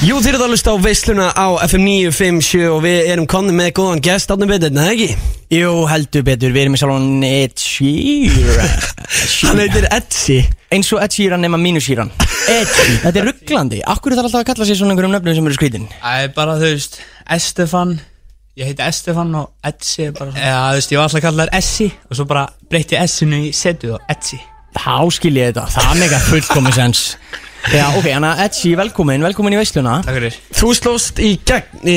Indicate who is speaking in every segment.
Speaker 1: Jú, þið eruð að hlusta á veisluna á FM 957 og við erum konni með góðan gest átnum betur, neða ekki?
Speaker 2: Jú, heldur betur, við erum í salon Ed Sheeran
Speaker 1: Hann heitir Etsi
Speaker 2: Eins og Ed Sheeran nema mínu Sheeran Ed Sheeran, þetta er rugglandi Akkur er það alltaf að kalla sér svona einhverjum nöfnum sem eru skrítin
Speaker 3: Það er bara, þú veist, Estefan Ég heiti Estefan og Etsi er bara Eða, þú veist, ég var alltaf að kalla þær Essi Og svo bara breytti ég S-inu í Setu og Etsi
Speaker 2: Þá skil ég þetta, það er mega fullkomin sens Já, ok, hann að Ed Sheeran, velkomin, velkomin í veisluna
Speaker 3: Takk fyrir
Speaker 1: Þú slóst í gegn í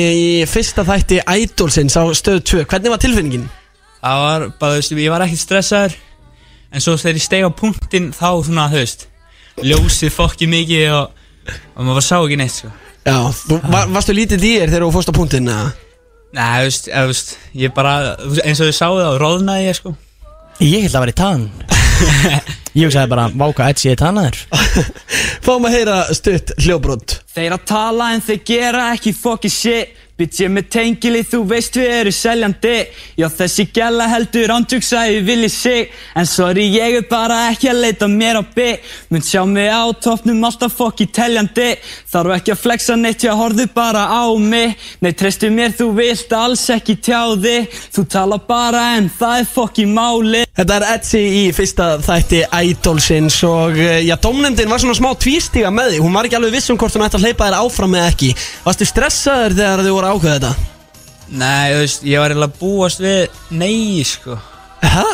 Speaker 1: fyrsta þætti Idolsins á stöð 2 Hvernig var tilfinningin?
Speaker 3: Það var bara, þú veist, ég var ekkert stressaður En svo þegar ég steig á punktinn Þá svona, þú veist Ljósið fokki mikið og Og maður bara sá ekki neitt, sko
Speaker 1: Já, þú, var, varstu lítið í þér þegar þú fórst á punktinn? eða?
Speaker 3: Nei, þú veist, eða, þú veist Ég bara, þú veist, eins og þau sáðu þá Róðnaði ég, sko
Speaker 2: Ég held að vera í tann Ég hugsaði bara, váka Ed Sheeran tannar
Speaker 1: Fáum að heyra stutt hljóbrot
Speaker 4: Þeir að tala en þeir gera ekki fucking shit Bitch ég er með tengili þú veist við eru seljandi Já þessi gæla heldur ándjúks að ég vilji sig En sorry ég er bara ekki að leita mér á bit Mun sjá mig á toppnum alltaf fucking teljandi Þarf ekki að flexa neitt ég horfðu bara á mig Nei treystu mér þú vilt alls ekki tjáði Þú tala bara en það er fucking máli
Speaker 1: Þetta er Etsi í fyrsta þætti Idolsins og eh, já, domnefndin var svona smá tvístiga með því Hún var ekki alveg viss um hvort hún ætti að hleypa þér áfram eða ekki Varstu stressaður þegar þau voru að ákveða þetta?
Speaker 3: Nei, þú veist, ég var eiginlega að búast við Nei, sko
Speaker 1: Hæ?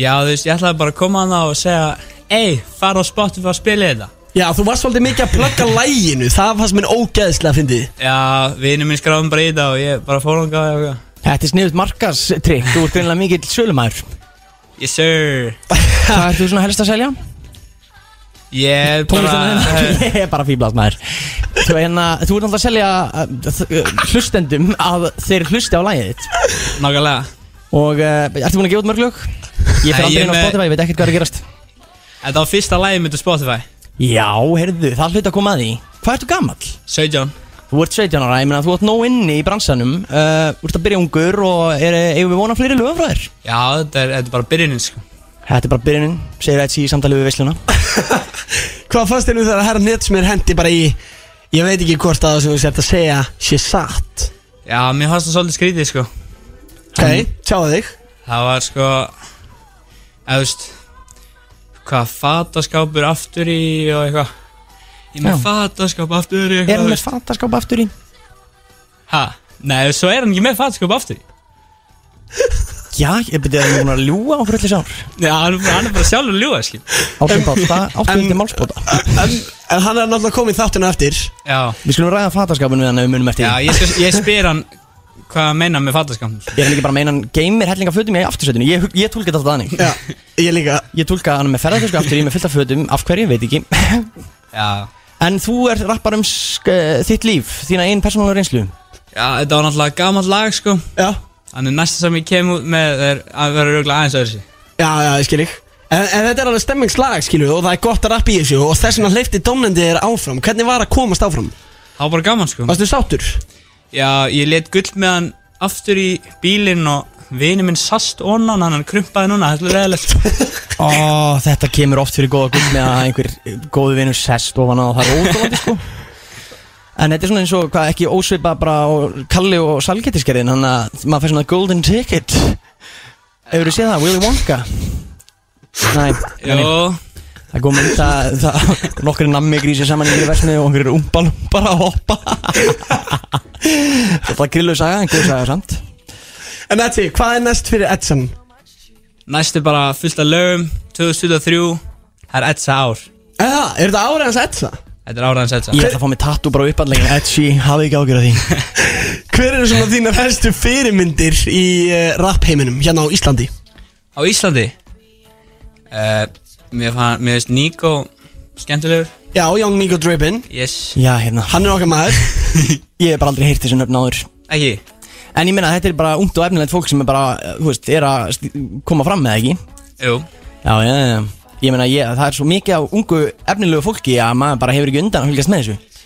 Speaker 3: Já, þú veist, ég ætlaði bara að koma hann og segja Ey, fara á Spotify að spila þetta
Speaker 1: Já, þú varst svolítið mikið að plugga læginu Það fannst mér ógeðslega að fyndið
Speaker 3: Já, vinur minn skráðum bara í þetta og ég bara fór hann gáði og eitthvað.
Speaker 2: Þetta er sniðut markastrykk, þú ert greinlega mikill sölumæður
Speaker 3: Yes sir
Speaker 2: Hvað ert þú svona helst að selja?
Speaker 3: Ég er bara
Speaker 2: Tónlistina Ég er bara fýblast maður Þú, hérna, þú ert náttúrulega að selja uh, þ- uh, hlustendum að þeir hlusti á lagið þitt
Speaker 3: Nákvæmlega
Speaker 2: Og uh, ertu búin að gefa út mörg lög? Ég
Speaker 3: Nei,
Speaker 2: fer aldrei
Speaker 3: ég
Speaker 2: inn á
Speaker 3: með-
Speaker 2: Spotify, ég veit ekkert hvað er að gerast
Speaker 3: Þetta var fyrsta lagi mitt á Spotify
Speaker 2: Já, heyrðu, það er hlut að koma að því Hvað ertu gamall?
Speaker 3: 17
Speaker 2: Þú ert 17 ára, ég meina þú ert nóg inni í bransanum uh, Þú ert að byrja ungur og er, eigum við vona fleiri lögum frá þér?
Speaker 3: Já, þetta er, þetta er bara byrjunin sko
Speaker 2: Þetta er bara byrjunin, segir Edsi í samtali við Vesluna
Speaker 1: Hvað fannst þér nú þegar herra Netsmér hendi bara í Ég veit ekki hvort að það sem þú sért að segja sé satt
Speaker 3: Já, mér fannst það svolítið skrítið sko
Speaker 1: Ok, tjáðu þig
Speaker 3: Það var sko Eða þú veist Hvað, fataskápur aftur í og eitthvað
Speaker 2: Já.
Speaker 3: Ég er með fataskáp aftur í
Speaker 2: Er
Speaker 3: eitthvað
Speaker 2: hann
Speaker 3: þú
Speaker 2: með
Speaker 3: veist.
Speaker 2: fattaskáp aftur í?
Speaker 3: Ha, nei, svo er hann ekki með fataskáp aftur í
Speaker 2: Já, ég byrja að hann búin að ljúga á fyrir allir sár
Speaker 3: Já, hann, er bara- hann er bara sjálfur að ljúga skil
Speaker 2: Áttum bát, það áttum
Speaker 1: en-
Speaker 2: til málspóta
Speaker 1: en, en hann er náttúrulega komið þáttuna eftir
Speaker 3: Já,
Speaker 2: Við skulum ræða fataskapin við hann ef við munum eftir
Speaker 3: já
Speaker 2: því.
Speaker 3: ég, skal, ég spyr hann Hvað hann meina með sko. fataskápum
Speaker 2: Ég er líka bara að meina hann geymir hellinga fötum í aftursætinu Ég, ég tólka þetta alltaf þannig
Speaker 1: Já, ég líka
Speaker 2: Ég tólka hann með ferðartösku aftur í með fylta fötum Af hverju, veit ekki
Speaker 3: Já
Speaker 2: En þú er rappar um sk- eh, þitt líf Þína einn persónulega reynslu
Speaker 3: Já, þetta var náttúrulega gammal lag sko
Speaker 1: Já,
Speaker 3: Þannig næsta sem ég kem út með er að vera rauglega aðeins öðru sér
Speaker 1: já, já, ég skil ég En, en þetta er alveg stemmingslag, skilju, og það er gott að rappa í þessu og þess vegna hleyfti domnendi þér áfram. Hvernig var að komast áfram?
Speaker 3: Það var bara gaman sko
Speaker 1: Varstu sáttur?
Speaker 3: Já, ég let gull með hann aftur í bílinn og vini minn sast onan hann hann krumpaði núna, þetta er leðilegt sko
Speaker 2: Ó, þetta kemur oft fyrir góða gull með að einhver góðu vinur sest ofan á það rótólandi sko En þetta er svona eins og hvað ekki ósvipa bara á Kalli og Salgetiskerðin Þannig að maður fær svona golden ticket Hefur þú séð það, Willy Wonka? Nei, nei, nei.
Speaker 3: Jó,
Speaker 2: Það kom mynd að það, nokkri nammi grísi saman í versni og einhverjir umban bara að hoppa Þetta er grillu saga, en grillu saga samt
Speaker 1: En Etsi, hvað er næst fyrir Etsan?
Speaker 3: næst er bara fullt af lögum 2023, það er etsa ár
Speaker 1: Eða, er þetta árið hans Etsa?
Speaker 3: Þetta er áraðans etsa
Speaker 2: Ég ætla að fá mig tattu bara uppallegin Edgy, hafi ekki ágjör af því
Speaker 1: Hver eru svona þínar helstu fyrirmyndir í uh, rappheiminum hérna á Íslandi?
Speaker 3: Á Íslandi uh, Mér fann, mér veist Nico skemmtilegur
Speaker 1: Já, Young Nico Dribbin,
Speaker 3: Yes,
Speaker 2: Já, hérna,
Speaker 1: hann er okkar maður
Speaker 2: ég hef bara aldrei heyrt þessu nöfn áður
Speaker 3: ekki
Speaker 2: En ég meina, þetta er bara ungt og efnilegt fólk sem er bara, eh, þú veist, er að st- koma fram með ekki
Speaker 3: Jú,
Speaker 2: Já, já, já, já Ég meina, ég, það er svo mikið á ungu efnilegu fólki að maður bara hefur ekki undan að fylgjast með þessu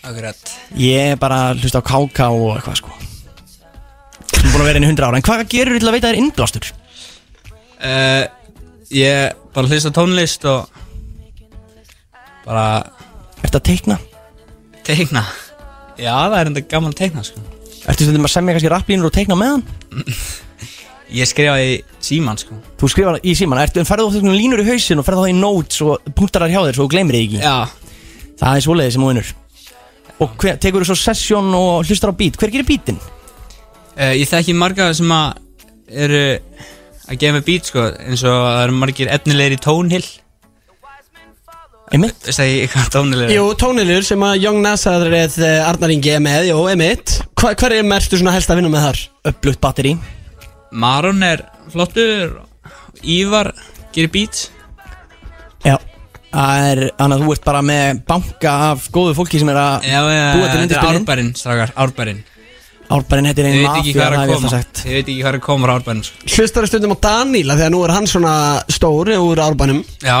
Speaker 3: akkurat
Speaker 2: Ég er bara að hlusta á KK og eitthvað sko Sem er búin að vera inn í 100 ára En hvað gerur þú til að veita þér innblástur?
Speaker 3: uh, Ég bara hlusta á tónlist og bara
Speaker 2: Ertu að teikna?
Speaker 3: Teikna Já, það er enda gaman að teikna sko
Speaker 2: Ertu stundum að semja kannski rapplínur og teikna með hann?
Speaker 3: Ég skrifaði síman sko
Speaker 2: Þú skrifar í síman, ertu en ferðu oft einhvern línur í hausin og ferðu þá í notes og punktar þar hjá þér svo þú gleymir þig ekki
Speaker 3: Já
Speaker 2: Það er svoleiði sem þú vinnur Og hver, tekur þú svo sesjón og hlustar á beat Hver gerir beatin?
Speaker 3: uh, Ég þekki marga sem að eru að gefa mig beat sko eins og það eru margir efnilegir í tónhill
Speaker 2: Einmitt
Speaker 3: Veist það ég hvað tónhill er?
Speaker 1: Jú, tónilur sem að Young Nasar eð eh, Arnar Ingi er með, jú, emitt Hva, Hver er mertu svona helst að vinna með þar?
Speaker 2: Upplutt batteri
Speaker 3: Maron er flottur Ívar gerir beat
Speaker 2: Já Það er, þannig að þú ert bara með banka af góðu fólki sem er að
Speaker 3: Já, já, já,
Speaker 2: búa til
Speaker 3: þetta er
Speaker 2: undirspilin
Speaker 3: árbærin, strákar, árbærin
Speaker 2: Árbærin heitir
Speaker 3: Ég
Speaker 2: einn
Speaker 3: veit ekki
Speaker 2: mafja,
Speaker 3: hvað er
Speaker 2: það
Speaker 3: að
Speaker 2: er það
Speaker 3: koma
Speaker 2: sagt
Speaker 3: Ég veit ekki hvað er að koma frá árbærin sko.
Speaker 1: Hlustar stundum á Daníla þegar nú er hann svona stór eh, úr árbænum
Speaker 3: Já,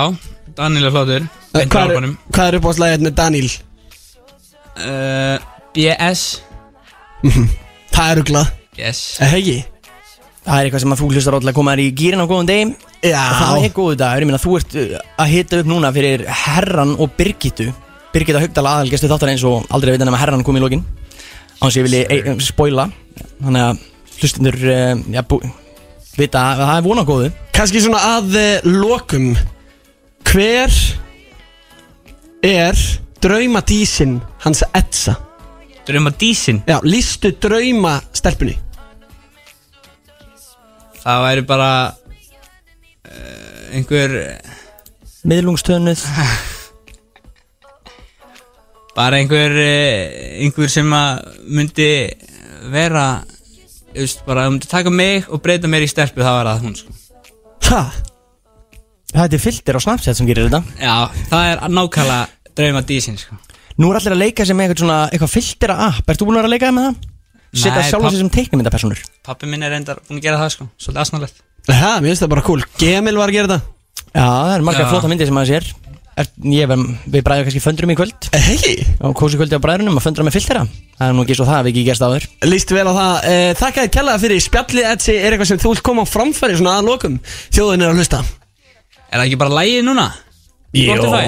Speaker 3: Daniel er flottur
Speaker 1: Eh,
Speaker 3: Beint frá
Speaker 1: Hvað er,
Speaker 3: árbænum
Speaker 1: hvað er hérna, uppáðslæðið með Daníl?
Speaker 3: uh, BS
Speaker 1: Það er uglað,
Speaker 3: Yes
Speaker 1: hegi
Speaker 2: Það er eitthvað sem að þú hlustar alltaf að koma þér í gýrin á góðum degi
Speaker 1: Já,
Speaker 2: Og það er góðu dagur, ég meina þú ert uh, að hita upp núna fyrir Herran og Birgitu Birgitta Haugdal aðalgestu þáttar eins og aldrei veit hann að Herran kom í lokin Án þess að ég vilji e- e- spoila Þannig að hlustundur, uh, já, bú, vita að það er vona góðu
Speaker 1: kannski svona að eh, lokum Hver er draumadísin hans Edsa?
Speaker 3: Drauma Dísin
Speaker 1: Já, lístu drauma stelpunni
Speaker 3: Það væri bara uh, Einhver
Speaker 2: Miðlungstöðnuð
Speaker 3: Bara einhver eh, Einhver sem að myndi Vera þú veist, bara, Það myndi taka mig og breyta mér í stelpu Það var að hún sko
Speaker 1: Ha?
Speaker 2: Það er filter á Snapchat sem gerir þetta
Speaker 3: Já, það er nákvæmlega Drauma Dísin sko
Speaker 2: Nú er allir að leika sér með eitthvað svona, eitthvað filtera app Ertu búin að vera að leika þér með það? Setta
Speaker 3: Nei,
Speaker 2: sjálfa
Speaker 3: papp-
Speaker 2: sér sem teiknumyndapersonur
Speaker 3: Pappi minn er reyndar búin að gera það sko Svolítið asnalegt
Speaker 1: Ha, mér finnst það bara cool Gemil var að gera þetta
Speaker 2: Já, það er margar
Speaker 3: Já.
Speaker 2: flóta myndir sem maður sér er, ég, verð- Við bræðum kannski föndrum í kvöld
Speaker 1: Hei,
Speaker 2: og kósi kvöldi á bræðrunum að föndra með filtera það er nú ekki svo það að við ekki gerst áður
Speaker 1: líst vel á það Eh, Þakka þér kjallaði fyrir spjallið Edsi er eitthvað sem þú vilt koma á framfæri svona að lokum Þjóðin er að hlusta
Speaker 3: Er það ekki bara lægið núna? Spotify?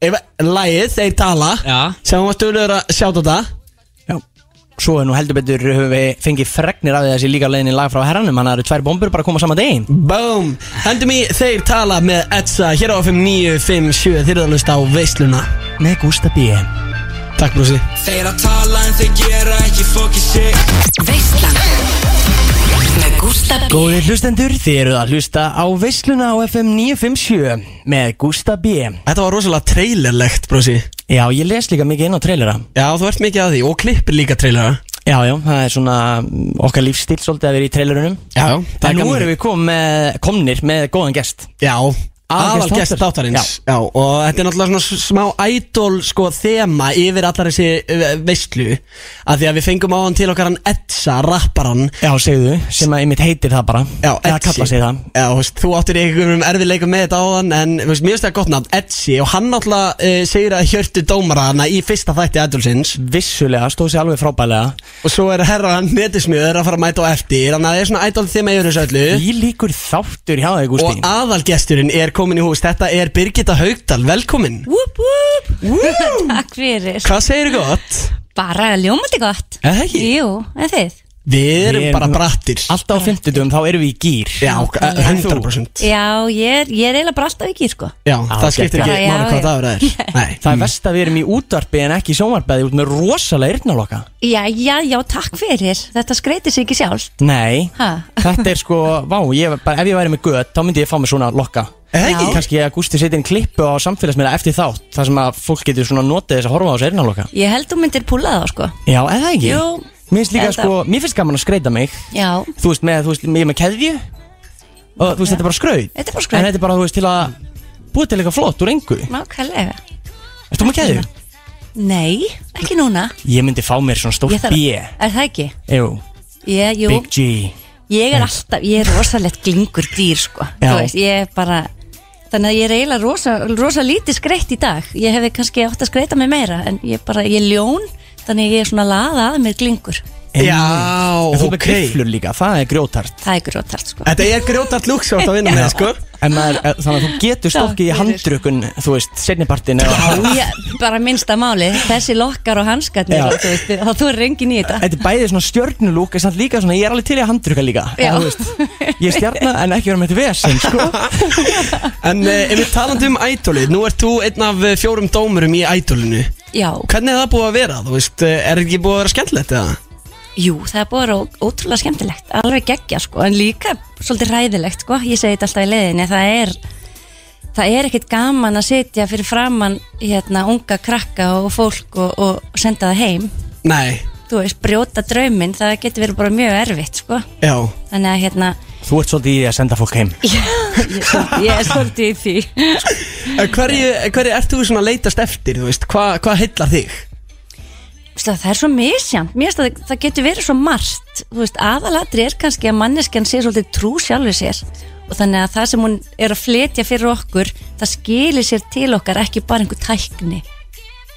Speaker 1: Ef Lægið, þeir tala
Speaker 3: Já.
Speaker 1: Sem var stöðlegur að sjáta þetta
Speaker 2: já. svo er nú heldur betur höfum við fengið fregnir af því að þessi líka leiðin í lag frá herranum hann eru tvær bombur bara að koma sama degin
Speaker 1: Boom Hendum í Þeir tala með Edsa Hér á 5957 Þeir eru að hlusta á veisluna
Speaker 2: með Gústa B
Speaker 1: Takk brúsi
Speaker 5: Þeir að tala en þeir gera ekki fokki sig
Speaker 6: Veislan Með Gústa B
Speaker 2: Góðir hlustendur, þið eruð að hlusta á veisluna á FM 957 með Gústa B
Speaker 1: Þetta var rosalega trailerlegt brúsi
Speaker 2: Já, ég les líka mikið inn á trailera
Speaker 1: Já, þú ert mikið að því Og klippir líka trailera
Speaker 2: Já, já, það er svona mm, okkar lífstíl svolítið að vera í trailerunum
Speaker 1: Já, það er
Speaker 2: En nú
Speaker 1: gaman.
Speaker 2: erum við kom með, komnir með góðan gest
Speaker 1: Já Aðal
Speaker 2: Aðalgest
Speaker 1: gest þáttarins Já. og þetta er náttúrulega svona s- smá idol sko þema yfir allar þessi eh, veislu að því að við fengum á hann til okkar hann Edsa, rapparan
Speaker 2: Já, segðu, sem að einmitt heitir það bara
Speaker 1: Já,
Speaker 2: Eða kalla sig það
Speaker 1: Já, þú veist, þú áttir í einhverjum erfiðleikum með þetta á hann en þú veist, mér finnst það gott nafn, Edsi og hann náttúrulega uh, segir að hjörtu dómara hana í fyrsta þætti Edulsins
Speaker 2: vissulega stóð sér alveg frábælega
Speaker 1: og svo er herra hann netismiður að fara að mæta á eftir þannig að það er svona idol þema yfir þessu öllu
Speaker 2: Í líkur þáttur hjá þig Gústi
Speaker 1: og aðalgesturinn er komin í hús þetta er Birgitta Haugdal, velkomin
Speaker 7: Whoop, whoop. Takk fyrir
Speaker 1: Hvað segir gott?
Speaker 7: Bara ljómandi gott
Speaker 1: Er það ekki?
Speaker 7: Jú, en þið?
Speaker 1: Við erum
Speaker 2: Við erum-
Speaker 1: bara brattir
Speaker 2: Alltaf á fimmtudum þá erum við í gýr
Speaker 1: Já, eh,
Speaker 7: Nákvæmlega.
Speaker 1: 100%
Speaker 7: Já, ég er, ég er eiginlega bara alltaf ekki, sko
Speaker 1: Já, það skiptir
Speaker 7: geggjað.
Speaker 1: ekki
Speaker 7: Já,
Speaker 1: máli
Speaker 7: já,
Speaker 1: hvað
Speaker 7: já.
Speaker 1: dagur það er Nei,
Speaker 2: Það er verst að við erum í útvarpi en ekki í sjónvarpiði út með rosalega yrnaloka
Speaker 7: Já, já, já, takk fyrir Þetta skreiti sig ekki sjálft
Speaker 2: Nei,
Speaker 7: Ha?
Speaker 2: þetta er sko, vá, ég, bara, ef ég væri með gött þá myndi ég fá mig svona lokka
Speaker 1: Er það
Speaker 7: Já.
Speaker 1: ekki?
Speaker 2: Kanski að Gústi setja inn klippu á samfélagsmiðla eftir þátt þar sem að fólk getur svona notið þess að horfa á þessu yrnaloka
Speaker 7: Ég held þú myndir púla það, sko
Speaker 2: Já, eða ekki?
Speaker 7: Jú,
Speaker 2: Mér finnst líka
Speaker 7: Enda.
Speaker 2: sko, mér finnst gaman að skreita mig
Speaker 7: já
Speaker 2: Þú veist, með, þú veist, ég er með keðju Og þú veist, þetta er bara skraut
Speaker 7: Þetta er bara skraut.
Speaker 2: En þetta er bara, þú veist, til að búið til eitthvað flott úr engu
Speaker 7: Nákvæmlega
Speaker 2: Ertu með keðju?
Speaker 7: Hérna. Nei, ekki núna
Speaker 2: Ég myndi fá mér svona stórt
Speaker 7: Ég þarf-
Speaker 2: B
Speaker 7: Er það ekki?
Speaker 2: Jú,
Speaker 7: Ég, jú,
Speaker 2: Big G
Speaker 7: ég er alltaf Ég er rosalegt glingur dýr, sko
Speaker 2: Já.
Speaker 7: Þú veist, ég er bara Þannig að ég er eiginlega rosa, rosa lítið skreitt í dag Ég hefði kannski átt að skreita mig meira En ég er bara, ég er ljón Þannig að ég er svona að laða að mér glingur
Speaker 1: Já,
Speaker 2: En Þú með
Speaker 1: ok
Speaker 2: grifflur líka, það er grjótart
Speaker 7: Það er grótart sko
Speaker 1: Þetta er grjótart lúks átt að vinna með, sko
Speaker 2: En maður, eh, þannig að þú getur stokkið í
Speaker 7: Ah. fyrir.
Speaker 2: handrukun, þú veist, setnipartin eða
Speaker 7: Já, bara minnsta máli, þessi lokkar og hanskarnir
Speaker 2: Já.
Speaker 7: og þú veist, þá þú er engin í þetta
Speaker 2: Þetta er bæðið svona stjörnulúk en samt líka svona, ég er alveg til í að handruka líka
Speaker 7: Já.
Speaker 2: En þú veist, Ég er stjarnar en ekki vera með þetta vesinn sko.
Speaker 1: En eh, ef við talandum um ædolið Nú ert þú einn af eh, fjórum dómurum í ædolinu
Speaker 7: Já,
Speaker 1: Hvernig er það búið að vera? Þú veist, eh, er ekki búið að vera skemmtilegt eða?
Speaker 7: jú, það er búið að vera ó- ótrúlega skemmtilegt alveg geggja sko, en líka svolítið ræðilegt sko, ég segi þetta alltaf í leiðinni það er, það er ekkit gaman að sitja fyrir framann hérna, unga krakka og fólk og, og senda það heim,
Speaker 1: Nei,
Speaker 7: þú veist, brjóta drauminn það getur verið bara mjög erfitt sko
Speaker 1: já
Speaker 7: þannig að hérna,
Speaker 2: Þú ert svolítið í að senda fólk heim
Speaker 7: ég, ég er svolítið í því
Speaker 1: Eh, Hverju, hverju ert þú svona að leitast eftir? Þú veist, hvað hva heillar þig?
Speaker 7: Veistu, það er svo misjant, mér finnst að það- það getur verið svo margt, þú veist, aðalatri er kannski að manneskjan sé svolítið trú sjálfur sér og þannig að það sem hún er að fletja fyrir okkur, það skilir sér til okkar ekki bara einhver tækni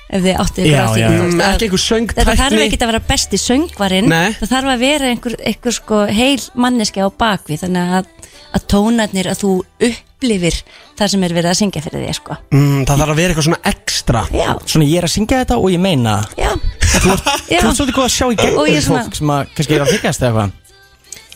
Speaker 7: ef þið áttið ykkur
Speaker 2: Já,
Speaker 7: á
Speaker 2: já,
Speaker 7: því
Speaker 2: já.
Speaker 7: þú veist, að-
Speaker 1: Mm, Ekki einhver söngtækni?
Speaker 7: þetta þarf ekki að vera besti söngvarinn
Speaker 1: Nei.
Speaker 7: það þarf að vera einhver, einhver sko heil manneskja á bakvið þannig að, að tónarnir að þú upplifir það sem er verið að syngja fyrir því sko.
Speaker 1: Mm, það þarf að vera eitthvað svona ekstra
Speaker 7: já,
Speaker 2: Svona ég er að syngja þetta og ég meina það.
Speaker 7: já,
Speaker 2: Þú ert svolítið góð að sjá í
Speaker 7: Og ég
Speaker 2: gegnum
Speaker 7: svona-
Speaker 2: fólk sem að kannski er að þykjast eða eitthvað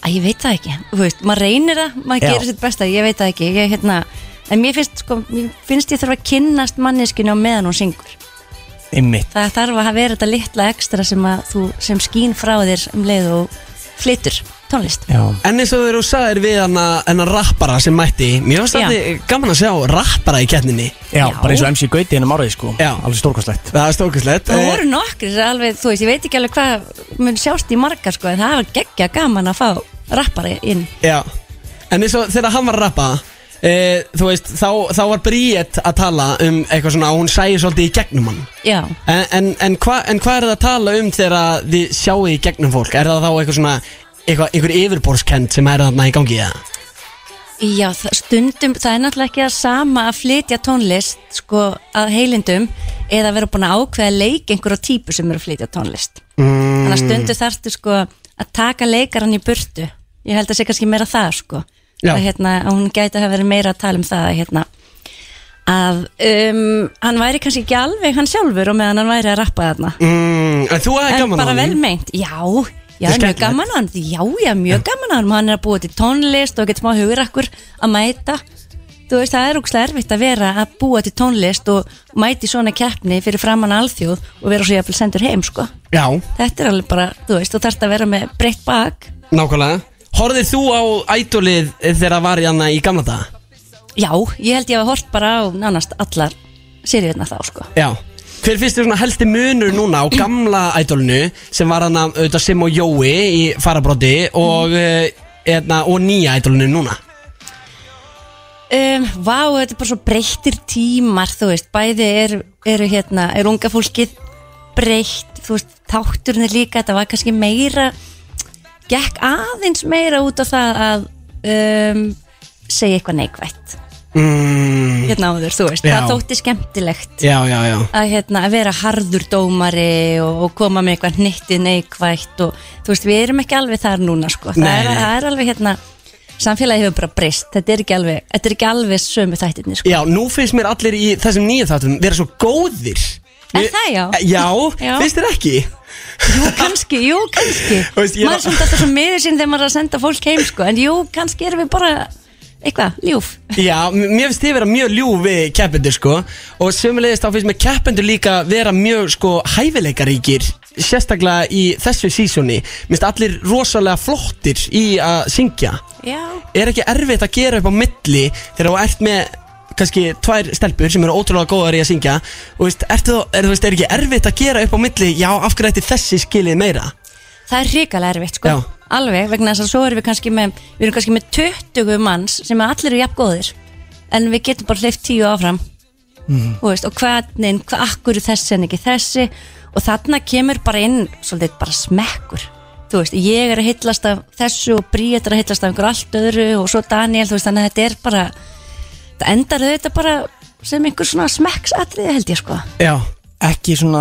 Speaker 7: að ég veit það ekki Þú veist, maður reynir það, maður
Speaker 2: Já.
Speaker 7: gerir sitt besta ég veit það ekki, ég hérna en mér finnst, sko, mér finnst ég þurfa að kynnast manneskinu á meðan hún syngur
Speaker 2: Einmitt
Speaker 7: það þarf að vera þetta litla ekstra sem, að þú, sem skín frá þér um leið og flytur tónlist
Speaker 2: Já
Speaker 1: En eins og þú eru sagðir við hana, hana rappara sem mætti Mér finnst
Speaker 7: Já.
Speaker 1: þetta gaman að sjá rappara í kettinni
Speaker 2: Já,
Speaker 7: Já.
Speaker 2: bara eins og MC Gauti hennum árið sko
Speaker 1: Já.
Speaker 2: Alveg stórkostlegt
Speaker 1: Það er Eh, stókislegt
Speaker 7: það voru nokkri, alveg, þú veist, ég veit ekki alveg hvað mun sjást í margar, sko, en það var geggja gaman að fá rappari inn
Speaker 1: Já, en eins og þegar hann var að rappa e, Þú veist, þá, þá var Bríett að tala um eitthvað svona og hún sæði svolítið í gegnum hann
Speaker 7: já,
Speaker 1: En, en, en hvað hva er það að tala um þegar þið sjáu í gegnum fólk? Er það þá eitthvað svona, eitthvað, einhver yfirborskend sem er þarna í gangi eða?
Speaker 7: já það, stundum, það er náttúrulega ekki það sama að flytja tónlist, sko, að heilindum eða vera búin að ákveða leik einhverja típu sem eru að flytja tónlist
Speaker 1: Mm,
Speaker 7: þannig að stundu þarftu sko að taka leikarann í burtu ég held að sé kannski meira það sko
Speaker 1: Já.
Speaker 7: að, hérna, að hún gæti að hafa verið meira að tala um það að, hérna, að um, hann væri kannski ekki alveg hann sjálfur og meðan hann væri að rappa þarna
Speaker 1: mm, en þú hefði
Speaker 7: en
Speaker 1: gaman
Speaker 7: bara
Speaker 1: honum.
Speaker 7: vel meint, já Já,
Speaker 1: Það er
Speaker 7: mjög
Speaker 1: skemmtilegt.
Speaker 7: gaman hann, já, já, mjög gaman hann hann er að búa til tónlist og getur smá hugur akkur að mæta þú veist, það er ógstlega erfitt að vera að búa til tónlist og mæti svona keppni fyrir framann alþjóð og vera svo jafnvel sendur heim, sko
Speaker 1: Já,
Speaker 7: þetta er alveg bara, þú veist, þú þarft að vera með breytt bak,
Speaker 1: nákvæmlega Horðir þú á ædolið þegar það var í hana í gamla daga?
Speaker 7: já, ég held ég hafa hort bara á nánast allar sériðna þá, sko.
Speaker 1: Já Hver finnst þér svona helsti munur núna á gamla ædolinu sem var hann auðvitað Sim og Jói í farabroti og, mm. eðna, og nýja ædolinu núna?
Speaker 7: Um, vá, þetta er bara svo breyttir tímar, þú veist, bæði eru, eru hérna, er unga fólkið breytt, þú veist, þátturinn er líka, þetta var kannski meira gekk aðeins meira út á það að um, segja eitthvað neikvætt
Speaker 1: Mm,
Speaker 7: hérna áður, þú veist,
Speaker 1: Já.
Speaker 7: það þótti skemmtilegt
Speaker 1: já, já, já
Speaker 7: að, hérna, að vera harður dómari og, og koma með eitthvað nýttið neikvætt og þú veist, við erum ekki alveg þar núna sko. það,
Speaker 1: Nei,
Speaker 7: er,
Speaker 1: nei.
Speaker 7: það er alveg hérna samfélagi hefur bara breyst, þetta er ekki alveg þetta er ekki alveg sömu þættinni sko.
Speaker 1: Já, nú finnst mér allir í þessum nýja þáttum vera svo góðir
Speaker 7: Er
Speaker 1: Ég-
Speaker 7: það já?
Speaker 1: Já,
Speaker 7: Já.
Speaker 1: finnst þér ekki?
Speaker 7: Jú, kannski, jú, kannski
Speaker 1: Þú veist, ég er
Speaker 7: maður er
Speaker 1: að-
Speaker 7: samt alltaf svo miður sín þegar maður er að senda fólk heim sko. en jú, kannski erum við bara eitthvað, ljúf
Speaker 1: Já, m- mér finnst þið vera mjög ljúf við keppendur sko Og sömulegist þá finnst mér keppendur líka vera mjög sko hæfileikaríkir Sérstaklega í þessu sísoni Mér finnst allir rosalega flottir í að syngja
Speaker 7: Já,
Speaker 1: Er ekki erfitt að gera upp á milli Þegar þú ert með kannski tvær stelpur sem eru ótrúlega góðar í að syngja Og veist, ertu, þá- er, þú veist, er ekki erfitt að gera upp á milli Já, af hverju ætti þessi skilið meira?
Speaker 7: það er hrikalega erfitt sko.
Speaker 1: Já.
Speaker 7: alveg, vegna þess að svo erum við kannski með við erum kannski með 20 manns sem er allir eru jafn góðir en við getum bara hleyft 10 áfram mm. veist, og hvernig, hvað akkur þessi en ekki þessi og þarna kemur bara inn svolítið bara smekkur þú veist, ég er að hillast af þessu og Bríet er að hillast af einhver allt öðru og svo Daniel, þú veist, þannig að þetta er bara þetta endar auðvitað bara sem einhver svona smekksatriði held ég sko
Speaker 1: Já,
Speaker 2: Ekki svona,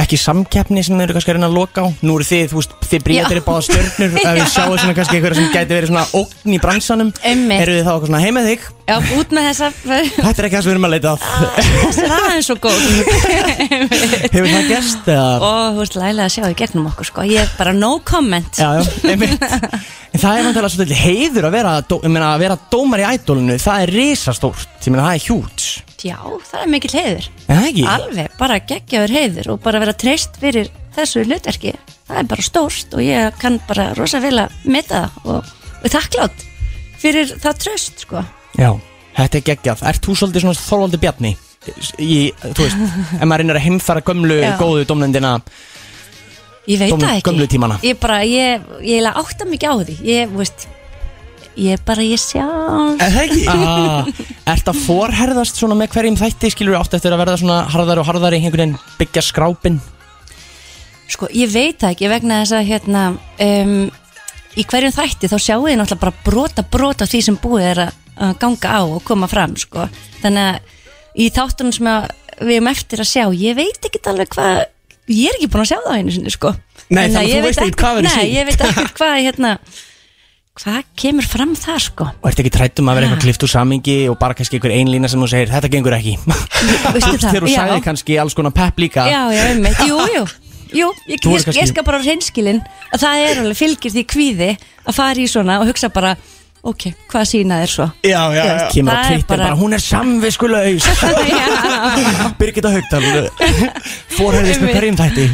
Speaker 2: ekki samkeppni sem þeir eru kannski að reyna að loka á Nú eru þið, þú veist, þið bríðat
Speaker 7: Já.
Speaker 2: eru báða stjörnur Ef við sjáum svona kannski einhverja sem gæti verið svona ógn í bransanum
Speaker 7: Einmitt.
Speaker 2: Eru þið þá eitthvað svona heim með þig
Speaker 7: Já, út með þessa
Speaker 2: Þetta er ekki það sem við erum að leita að
Speaker 7: Þessi er aðeins svo góð
Speaker 2: Hefur það gerst eða?
Speaker 7: Og þú veist, lægilega að sjá í gegnum okkur sko. Ég er bara no comment
Speaker 2: Já, já, einmitt En það er náttúrulega svolítið heiður að vera, dó- ég meina, að vera dómar í ædólinu Það er risastórt, ég meina það er hjút
Speaker 7: Já, það er mikill heiður
Speaker 2: En það ekki?
Speaker 7: Alveg, bara geggjaður heiður og bara vera treyst fyrir þessu hlutverki það er bara stórt og ég kann bara rosa vel að meta það og, og þakklátt fyrir það tröst sko.
Speaker 2: Já, þetta er geggjað Ert þú svolítið svona þorvaldi bjarni? Í, þú veist, ef maður reynir að heimfara gömlu,
Speaker 7: Já.
Speaker 2: góðu dómnendina
Speaker 7: ég veit
Speaker 2: Gömlu-
Speaker 7: það ekki
Speaker 2: gömlu tímana.
Speaker 7: ég bara, ég, ég eiginlega átta mikið á því ég, þú veist ég er bara ég sjálf
Speaker 1: Er það ekki?
Speaker 2: ah, Ert að forherðast svona með hverjum þætti skilur átt eftir að verða svona harðari og harðari einhvern veginn byggja skrápin
Speaker 7: Sko, ég veit það ekki vegna þess að hérna, um, í hverjum þætti þá sjáu þið náttúrulega bara brota brota því sem búið er að að ganga á og koma fram, sko. Þannig að í þáttunum sem að við erum eftir að sjá, ég veit ekki alveg hvað, ég er ekki búin að sjá það á einu sinni, sko.
Speaker 1: Nei,
Speaker 7: Þannig að
Speaker 1: þannig að
Speaker 7: ég
Speaker 1: þú
Speaker 7: veit
Speaker 1: veist ekkert
Speaker 7: ekkert-
Speaker 1: hvað verður sýnt.
Speaker 7: Nei, ég veit ekkert hvað, hérna, hvað kemur fram það, sko.
Speaker 2: Og ert ekki trætt um að vera
Speaker 7: Ah.
Speaker 2: eitthvað klift úr samingi og bara kannski einhver einlína sem þú segir, þetta gengur ekki
Speaker 7: Veistu það?
Speaker 2: Þegar þú
Speaker 7: Já.
Speaker 2: sagði kannski alls konar pepp líka
Speaker 7: Já, já, einmitt, jú, jú Jú, ég,
Speaker 2: Þú
Speaker 7: ég,
Speaker 2: er kannski-
Speaker 7: ég skal bara á reynskilin að það er alveg fylgir því kvíði að fara í svona og hugsa bara ok, hvað sína er svo
Speaker 1: Já, já, já
Speaker 2: Kemur á
Speaker 7: Það er
Speaker 2: Twitter bara,
Speaker 7: bara-
Speaker 2: hún er samviskulaus
Speaker 7: Já,
Speaker 2: Birgitta Haugdal Forherðist með hverjum þætti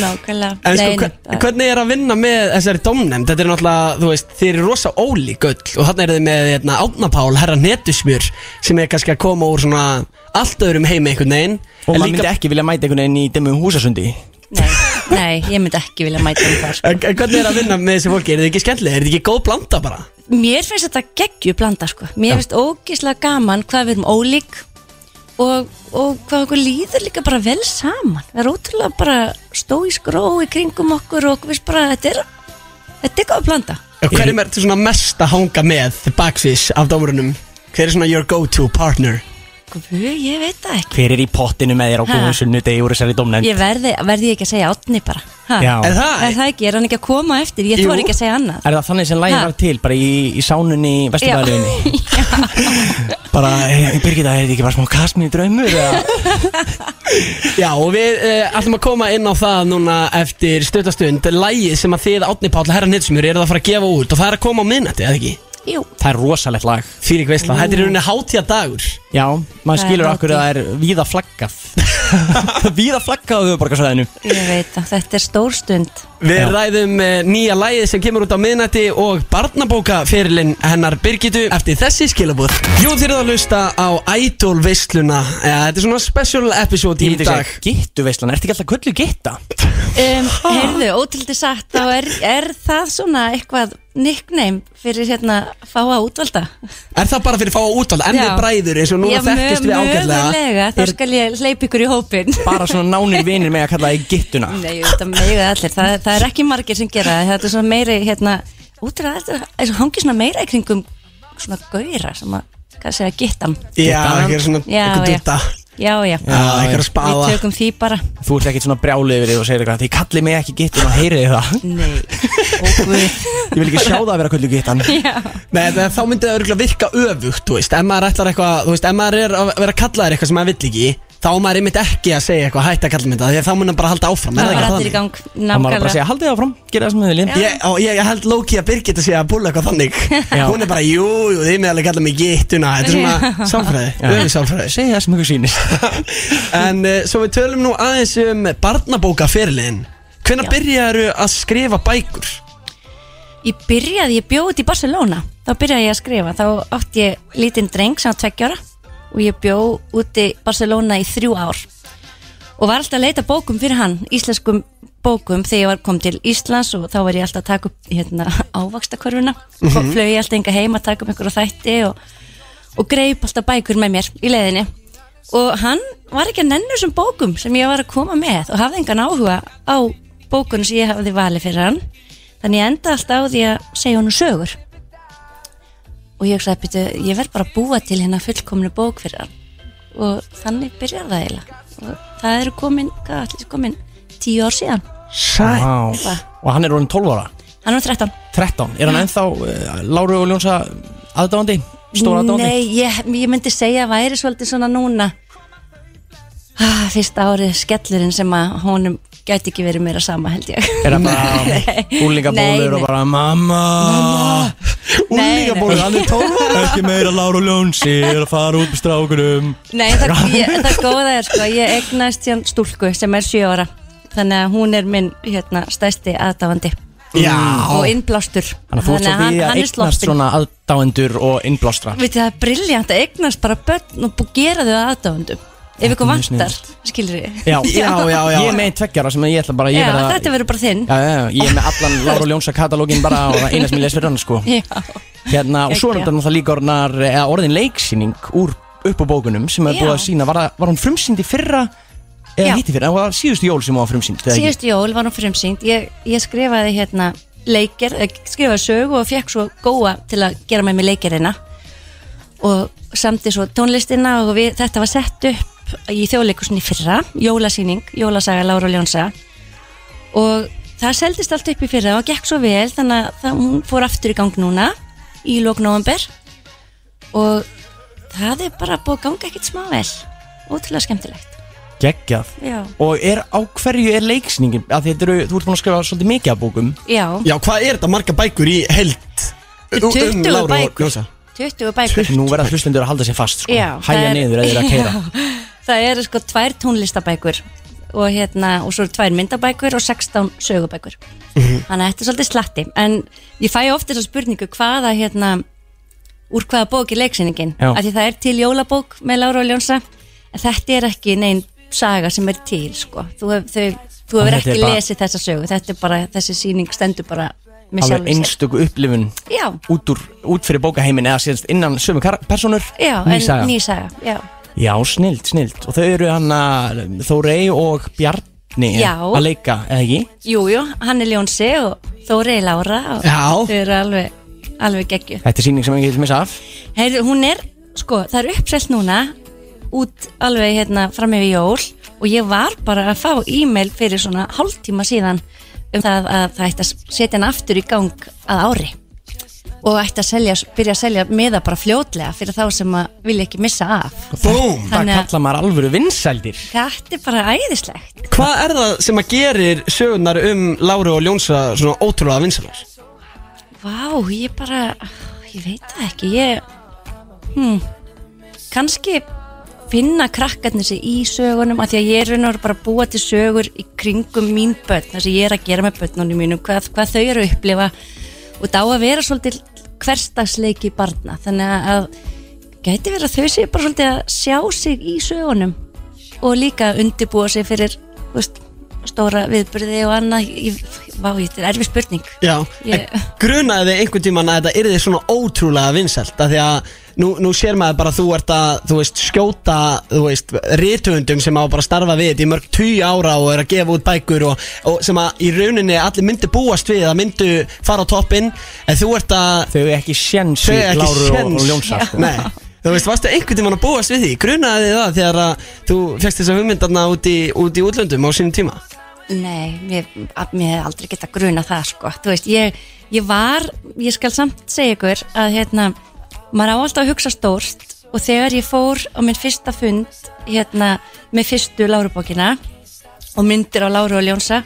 Speaker 7: nákvæmlega
Speaker 1: En sko,
Speaker 7: Nei,
Speaker 1: hver-
Speaker 7: nei, það-
Speaker 1: hvernig er að vinna með þessari domnefnd? Þetta er náttúrulega, þú veist, þeir eru rosa ólík öll og þarna eru þið með hérna, átnapál, herra netusmjör sem er kannski að koma úr svona allt öðrum heimi einhvern veginn
Speaker 2: Og
Speaker 1: En
Speaker 2: maður
Speaker 1: líka-
Speaker 2: myndi ekki vilja mæta einhvern veginn í dimmum húsasundi
Speaker 7: nei, nei, ég myndi ekki vilja mæta um það sko.
Speaker 1: En en hvernig er að vinna með þessi fólki? Er þetta ekki skemmtilega? Er þetta ekki góð blanda bara?
Speaker 7: Mér finnst þetta geggju blanda sko. Mér finnst ógislega gaman hvað við erum ólík og, og hvað okkur líður líka bara vel saman Það er ótrúlega bara stói skró í kringum okkur og okkur finnst bara að þetta er þetta er góð blanda
Speaker 1: Og Hverjum er þetta svona mest að hanga með baksvís af dómurunum? Hver er svona your go-to partner?
Speaker 7: Guð, ég veit það ekki
Speaker 2: Hver er í pottinu með þér á
Speaker 7: Ha.
Speaker 2: góðum sunnudegi úr þessari domnend
Speaker 7: Ég verði, verði ég ekki að segja átni bara ha?
Speaker 2: Já.
Speaker 1: Er það?
Speaker 7: Er það ekki, er hann ekki að koma eftir Ég
Speaker 1: Jú.
Speaker 7: þór ekki að segja annað
Speaker 2: Er það þannig sem lægir
Speaker 7: Ha.
Speaker 2: var til, bara í, í sánunni Vesturbæðarleginni? bara, hey, Birgitta, er þetta ekki bara smá kasminni draumur? eða?
Speaker 1: Já, og við uh, ætlum að koma inn á það núna eftir stöttastund Lægið sem að þið átni Páll herra netusmjör eru að fara að gefa út og það er að koma á minnati, eða ekki?
Speaker 7: Jú,
Speaker 2: það er rosalegt lag
Speaker 1: Fyrir veistla, þetta er í rauninni hátíða dagur
Speaker 2: Já, maður
Speaker 7: Það er
Speaker 2: skilur
Speaker 7: hátíð.
Speaker 2: okkur að það er víða flaggað Víða flaggað á höfuborgarsvæðinu
Speaker 7: ég veit það, þetta er stór stund
Speaker 1: Við
Speaker 2: Já.
Speaker 1: ræðum eh, nýja lægið sem kemur út á miðnætti og barnabókaferilinn hennar Birgitu eftir þessi skilabúð. Jú, þið eruð að hlusta á Idol veisluna. Ja, þetta er svona special episode í
Speaker 2: Ég myndi
Speaker 1: dag.
Speaker 2: segja, gittu veistlan, ertu ekki alltaf köllu gitta?
Speaker 7: um, Heyrðu, ótrúlega sagt Þá er, er það svona eitthvað nickname Fyrir hérna fáa útvalda
Speaker 1: Er það bara fyrir að fá að útvalda? En við
Speaker 7: Já.
Speaker 1: bræður eins og nú
Speaker 7: Já,
Speaker 1: þekkist við
Speaker 7: mö-
Speaker 1: ágætlega.
Speaker 7: mögulega, þá skal ég hleypa ykkur í hópin
Speaker 2: Bara svona nánir vinir með að kalla það í gittuna
Speaker 7: Nei, þetta mega allir það, það er ekki margir sem gera það Þetta er svona meiri, hérna Útrúlega, þetta þetta hangi svona meira í kringum Svona gauðra sem að, hvað segja, gittan
Speaker 1: Já, ekki er svona
Speaker 7: Já,
Speaker 1: eitthvað
Speaker 7: já.
Speaker 1: dutta.
Speaker 7: Já, já,
Speaker 1: Já, ekki er að
Speaker 7: Við
Speaker 1: spáða.
Speaker 7: tökum því bara
Speaker 2: Þú ert ekkert svona brjálið yfir þig og segir eitthvað Þið kallið mig ekki gittuna, heyrið þið það
Speaker 7: Nei, óguð
Speaker 2: Ég vil ekki sjá það að vera köllu gittan
Speaker 1: Nei, það- þá myndi það örgulega virka öfugt, þú veist. Ef maður ætlar eitthvað, þú veist, ef maður er að vera kallaðir eitthvað sem maður vill ekki, þá á maður einmitt ekki að segja eitthvað hætt að kalla mig það, því að þá mun hann bara halda áfram. Er
Speaker 7: Það
Speaker 1: ekki
Speaker 7: var allir
Speaker 1: þannig?
Speaker 7: í gang
Speaker 2: Það maður bara að
Speaker 7: nákvæmlega
Speaker 2: segja, haldið þið áfram, gera það sem þið viljið
Speaker 7: Já.
Speaker 1: Ég, á, ég, ég held Loki að Birgit að segja að búla eitthvað þannig
Speaker 2: Já.
Speaker 1: Hún er bara, jú, jú, þið með alveg kalla mig gittuna Þetta er svona samfræði, öfum samfræði
Speaker 2: Segja það sem ykkur sýnist
Speaker 1: En uh, svo við tölum nú aðeins um barnabóka fyrirliðin Hvenær
Speaker 7: Já.
Speaker 1: byrjaðu að skrifa bækur?
Speaker 7: Ég byrjaði, ég bjóð út í Barcelona Þá byrjaði ég að skrifa Þá átti ég lítinn dreng sem var tveggjára Og ég bjóð úti í Barcelona í þrjú ár Og var alltaf að leita bókum fyrir hann Íslenskum bókum Þegar ég var kom til Íslands Og þá var ég alltaf að taka upp hérna, ávakstakörfuna mm -hmm. Flög ég alltaf enga heim að taka upp einhverja þætti Og, og greip alltaf bækur með mér í leiðinni Og hann var ekki að nennu þessum bókum sem ég var að koma með og hafði engan áhuga á bókunum sem ég hafði valið fyrir hann. Þannig ég enda alltaf á því að segja honum sögur. Og ég hugsaði, "Bíddu, ég verð bara að búa til hérna fullkomnu bók fyrir hann. Og þannig byrjar það eiginlega. Og það eru komin, hvað allir komin, tíu ár síðan.
Speaker 1: Sæ
Speaker 2: Vá. Og hann er orðin 12 ára
Speaker 7: Hann var 13.
Speaker 2: eh, 13, er hann ennþá uh, Láru og Ljónsa aðdáandi? stóra dóni?
Speaker 7: Nei, ég, ég myndi segja að væri svolítið svona núna ah, Fyrsta árið skellurinn sem að honum gæti ekki verið meira sama held ég
Speaker 2: Er það bara úlingabólur
Speaker 7: Nei, nei.
Speaker 2: og bara Mamma
Speaker 7: Úlingabólur,
Speaker 2: hann er tóður Ekki meira Láru Ljónsi er að fara út með strákunum
Speaker 7: Nei, það, ég, það góða er sko, ég eignast hérna stúlku sem er 7 ára Þannig að hún er minn hérna, stæsti aðdáandi
Speaker 1: Já
Speaker 7: og innblástur
Speaker 2: Þannig að þú ert svo því að eignast svona aðdáendur og innblástra
Speaker 7: Vitið það er briljant að eignast bara börn og bú- gera þau aðdáðundum Ef
Speaker 2: Þetta er
Speaker 7: eitthvað
Speaker 2: mjög
Speaker 7: vantar, skilur við
Speaker 2: Já,
Speaker 1: Já, já, já.
Speaker 2: Ég er með einn tveggjara sem ég ætla bara
Speaker 7: Já,
Speaker 2: ég verð að-
Speaker 7: þetta verður bara þinn
Speaker 2: Já, já, já, ég er með allan Láru Ljónsa katalógin bara og það eina sem ég les fyrir hann sko
Speaker 7: Já,
Speaker 2: hérna, Og svo er
Speaker 7: Gekkja.
Speaker 2: þetta náttúrulega líka orðnar, eða orðin leiksýning úr upp á bókunum sem er
Speaker 7: Já.
Speaker 2: búið að sína Var, það- var hún frumsýnd í fyrra
Speaker 7: Já.
Speaker 2: eða hitti fyrra, það var síðustu jól sem hún var frumsýnd eða ekki?
Speaker 7: síðust jól var hún frumsýnd ég, ég skrifaði hérna leikir, eh, skrifaði sögu og fekk svo góa til að gera með mig leikirina og samti svo tónlistina og við, þetta var sett upp í þjóðleikursinni fyrra, jólasýning jólasaga Lára Ljónsa og það seldist allt upp í fyrra og gekk svo vel þannig að það, hún fór aftur í gang núna í lók november og það er bara búið að ganga ekkert smá vel ótrúlega skemmtilegt
Speaker 2: Geggjað
Speaker 7: já,
Speaker 2: Og er á hverju er leiksýningin? Af því þetta eru, þú ert búin að skrifa svolítið mikið af bókum
Speaker 7: já.
Speaker 1: Já, hvað er þetta marga bækur í held?
Speaker 7: Þetta er 20 bækur.
Speaker 1: Ljósa
Speaker 7: 20 bækur
Speaker 2: Nú verða hlustendur að halda sér fast sko
Speaker 7: Já, það
Speaker 2: Hæja
Speaker 7: er-
Speaker 2: niður eða þeir eru að keira
Speaker 7: Það eru sko tvær tónlistabækur og, hérna, og svo eru tvær myndabækur og 16 sögubækur
Speaker 2: Mhm.
Speaker 7: Þannig að þetta er svolítið slatti En ég fæ ofta þessa spurningu hvaða hérna, úr hvaða bók er leiksýningin
Speaker 2: Já.
Speaker 7: Af því það er til jólabók með Lára og Ljónsa En þetta er ekki neinn saga sem er til sko. Þú hef- þau- þú hefur
Speaker 2: Þetta er
Speaker 7: ekki
Speaker 2: bara-
Speaker 7: lesið þessa sögu Þetta er bara, þessi sýning stendur bara með
Speaker 2: Alveg
Speaker 7: sjálfum sér
Speaker 2: einstöku upplifun
Speaker 7: Já,
Speaker 2: út, úr, út fyrir bókaheimin eða síðan innan sömu kar- persónur
Speaker 7: já,
Speaker 2: ný saga.
Speaker 7: en ný saga Já,
Speaker 2: Já, snild, snild Og þau eru hann að Þórei og Bjarni
Speaker 7: Já.
Speaker 2: að leika, eða ekki?
Speaker 7: Jújú, jú, hann er Ljónsi og Þóri er Lára og
Speaker 1: Já.
Speaker 7: þau eru alveg, alveg geggju.
Speaker 2: Þetta er síning sem ég vil missa af
Speaker 7: Heyrðu, hún er, sko, það er uppselt núna út alveg hérna fram yfir jól og ég var bara að fá e-mail fyrir svona hálftíma síðan um það að það ætti að setja hann aftur í gang að ári og ætti að selja, byrja að selja meða bara fljótlega fyrir þá sem að vilja ekki missa af.
Speaker 1: Búm
Speaker 2: Það
Speaker 7: Þannig að
Speaker 2: kalla maður alvöru vinsældir
Speaker 7: þetta er bara æðislegt.
Speaker 1: Hvað er það sem að gerir sögurnar um Láru og Ljónsa svona ótrúlega vinsalar?
Speaker 7: Vá, ég bara, ég veit það ekki, ég, hmm, kannski finna krakkarnir sér í sögunum af því að ég er raun og veru bara að búa til sögur í kringum mín börn, það sem ég er að gera með börnunum mínum, hvað, hvað þau eru að upplifa og það á að vera svolítið hverstagsleiki barna, þannig að gæti verið að þau séu bara svolítið að sjá sig í sögunum og líka undirbúa sig fyrir, þú veist, stóra viðbyrði og annað, ég, vá, þetta er erfið spurning.
Speaker 1: Já
Speaker 7: Ég-
Speaker 1: En grunaði þið einhvern tíman að þetta yrði svona ótrúlega vinsalt Af því að nú, nú sér maður bara að þú ert að, þú veist, skjóta, þú veist, rithöfundum sem á bara að starfa við þetta í mörg tíu ára og er að gefa út bækur og, og sem að í rauninni allir myndu búast við að myndu fara á toppinn En þú ert að
Speaker 2: Þau eru ekki sjens
Speaker 1: Þau
Speaker 2: í
Speaker 1: ekki
Speaker 2: Láru og,
Speaker 1: séns.
Speaker 2: og Ljónsa sko.
Speaker 1: Nei Þú veist, varstu einhvern tímann að búast við því? Grunaði þið það þegar að þú fegst þessa hugmyndarna út í, út í útlöndum á sínum tíma?
Speaker 7: Nei, mér, að- mér hef aldrei geta gruna það sko, þú veist, ég, ég var ég skal samt segja ykkur að hérna, maður á alltaf að hugsa stórt og þegar ég fór á minn fyrsta fund hérna, með fyrstu lárubókina og myndir á Láru og Ljónsa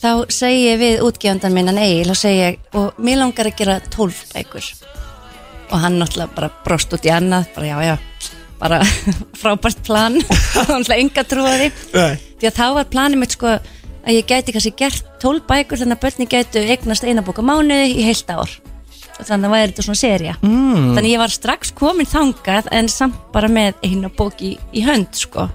Speaker 7: þá segi ég við útgefandan minnan Egil og segi ég, og mér langar að gera tólf bækur og hann náttúrulega bara brost út í annað bara já, já, bara frábært plan og hann enga trúa því
Speaker 1: Nei.
Speaker 7: því að þá var planið mitt sko að ég gæti kannski gert 12 bækur þannig að börnin gætu eignast eina bók á mánuði í heilt ár og þannig að væri þetta svona seria mm. þannig að ég var strax komin þangað en samt bara með eina bók í, í hönd sko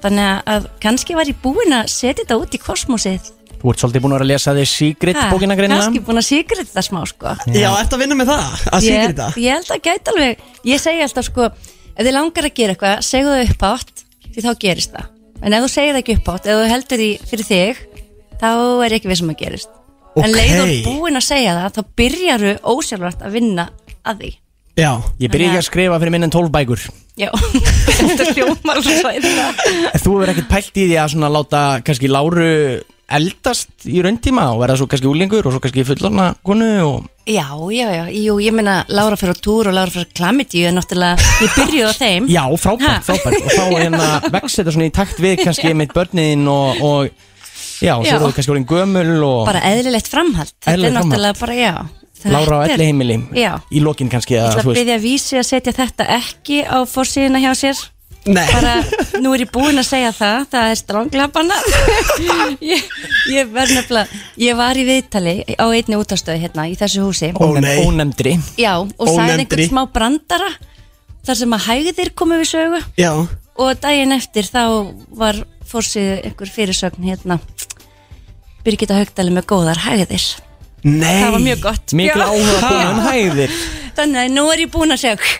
Speaker 7: þannig að kannski var ég búin að setja þetta út í kosmosið
Speaker 2: Þú ert svolítið búin að vera að lesa því Sigrid
Speaker 7: Ha,
Speaker 2: bókina greina
Speaker 7: kannski búin að sigra þetta smá sko
Speaker 1: Já, ertu að vinna með það? Að
Speaker 7: ég,
Speaker 1: sigra þetta?
Speaker 7: ég held að gæti alveg ég segi alltaf sko, ef þið langar að gera eitthvað segðu þau upp átt, því þá gerist það en ef þú segir það ekki upp átt, ef þú heldur því fyrir þig, þá er ekki við sem að gerist
Speaker 1: Ókei.
Speaker 7: en leiður búin að segja það þá byrjaru ósjálfvært að vinna að því
Speaker 1: Já
Speaker 2: Ég byrja ekki að skrifa fyrir minn en 12 bækur
Speaker 7: já, þetta hljómar svo svæðilega.
Speaker 2: En Þú hefur ekkert pælt í því að svona láta kannski Láru eldast í rauntíma og verða svo kannski úlingur og svo kannski fullorna konu og
Speaker 7: Já, já, já, jú, ég meina Lára fyrir á túr og Lára fyrir á klamitíu er náttúrulega, ég byrjuði á þeim
Speaker 2: já,
Speaker 7: Ha.
Speaker 2: frábært, frábært og þá hérna vex þetta svona í takt við kannski meitt börnin og, og já, og svo
Speaker 7: Já.
Speaker 2: eru þú kannski orðin gömul og
Speaker 7: bara eðlilegt framhald Þetta er
Speaker 2: Eðlilegt
Speaker 7: náttúrulega bara, já Þetta
Speaker 2: Lára á
Speaker 7: er-
Speaker 2: elli heimili
Speaker 7: Já,
Speaker 2: í lokin kannski
Speaker 7: ég
Speaker 2: að,
Speaker 7: ætla
Speaker 2: þú
Speaker 7: að
Speaker 2: veist,
Speaker 7: byrja að vísi að setja þetta ekki á fórsíðuna hjá sér
Speaker 1: Nei,
Speaker 7: bara, nú er ég búin að segja það það er stránglabanna ég, ég verð nefnilega ég var í viðtali á einni útastöð hérna í þessu húsi
Speaker 1: Ó,
Speaker 2: ónefnd-
Speaker 1: nei.
Speaker 2: ónefndri
Speaker 7: já, og sagði
Speaker 1: Ónefndri.
Speaker 7: einhvern smá brandara þar sem að hægðir komu við sögu
Speaker 1: já
Speaker 7: og daginn eftir þá var fórsíðu einhver fyrirsögn hérna Birgitta Haugdali með góðar hægðir
Speaker 1: Nei
Speaker 7: það var mjög gott
Speaker 2: mikil
Speaker 7: Já.
Speaker 2: áhuga búin um hæðir
Speaker 7: þannig að nú er ég búin að segja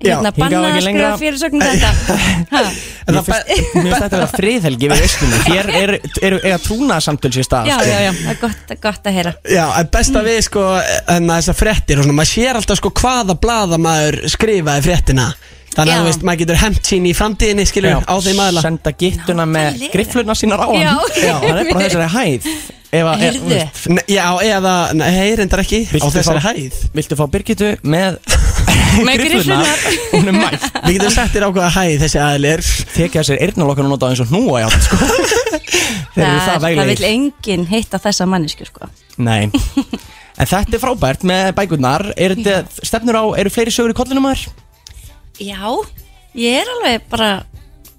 Speaker 1: Já,
Speaker 7: hérna
Speaker 2: hingað og
Speaker 7: banna
Speaker 2: ekki
Speaker 7: að
Speaker 2: lengra.
Speaker 7: skrifa fyrirsögn þetta Ha.
Speaker 1: En
Speaker 2: Mér
Speaker 1: það
Speaker 2: finnst
Speaker 1: be-
Speaker 2: mér finnst þetta að vera friðhelgi við veistunum Þér eru er, er, er trúnað samtöl sér stað
Speaker 7: já,
Speaker 2: sko.
Speaker 7: já, já, það er gott, gott að heyra
Speaker 1: Já, en besta við sko en þessar fréttir og svona, maður sér alltaf sko hvaða blaða maður skrifaði fréttina Þannig
Speaker 7: Já.
Speaker 1: að þú veist, maður getur hent sín í framtíðinni skilur á þeim aðla
Speaker 2: Senda gittuna
Speaker 7: Já,
Speaker 2: með
Speaker 7: þannig er
Speaker 2: grifflurna sínar á hann
Speaker 7: Já.
Speaker 2: það er bara á þessari hæð Ef að- ef-
Speaker 7: Heyrðu.
Speaker 2: þú veist,
Speaker 1: N- Já, eða, nei, hey, reyndar ekki á
Speaker 2: Viltu
Speaker 1: þessari
Speaker 2: fá-
Speaker 1: hæð
Speaker 2: Viltu fá Birgitu með
Speaker 7: Með
Speaker 2: grifflurnar
Speaker 7: grifflurnar.
Speaker 2: Hún er mætt
Speaker 1: Við getum sett þér á hvaða hæð þessi aðli er
Speaker 2: Tekja sér eyrnalokkan og nota eins og hnúa játt sko. Þeir eru það
Speaker 7: það vil
Speaker 2: veglegir
Speaker 7: enginn hitta þessa mannesku sko.
Speaker 2: Nei En þetta er frábært með bækurnar Er þetta stefnur á, eru fleiri sögur í kollinum maður?
Speaker 7: já, ég er alveg bara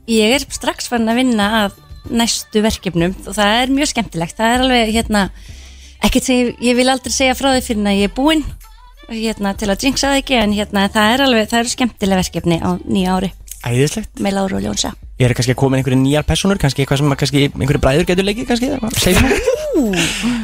Speaker 7: ég er strax fann að vinna að næstu verkefnum og það er mjög skemmtilegt það er alveg hérna ekkert sem ég, ég vil aldrei segja frá því fyrir en að ég er búin hérna, til að jinxa það ekki en hérna, það er alveg, það eru skemmtilega verkefni á nýja ári
Speaker 2: Æðislegt
Speaker 7: með Láru og Ljónsa
Speaker 2: Eru kannski að koma einhverju nýjar personur Kannski eitthvað sem að kannski einhverju bræður getur leikið kannski eða hvað? Segðu mér.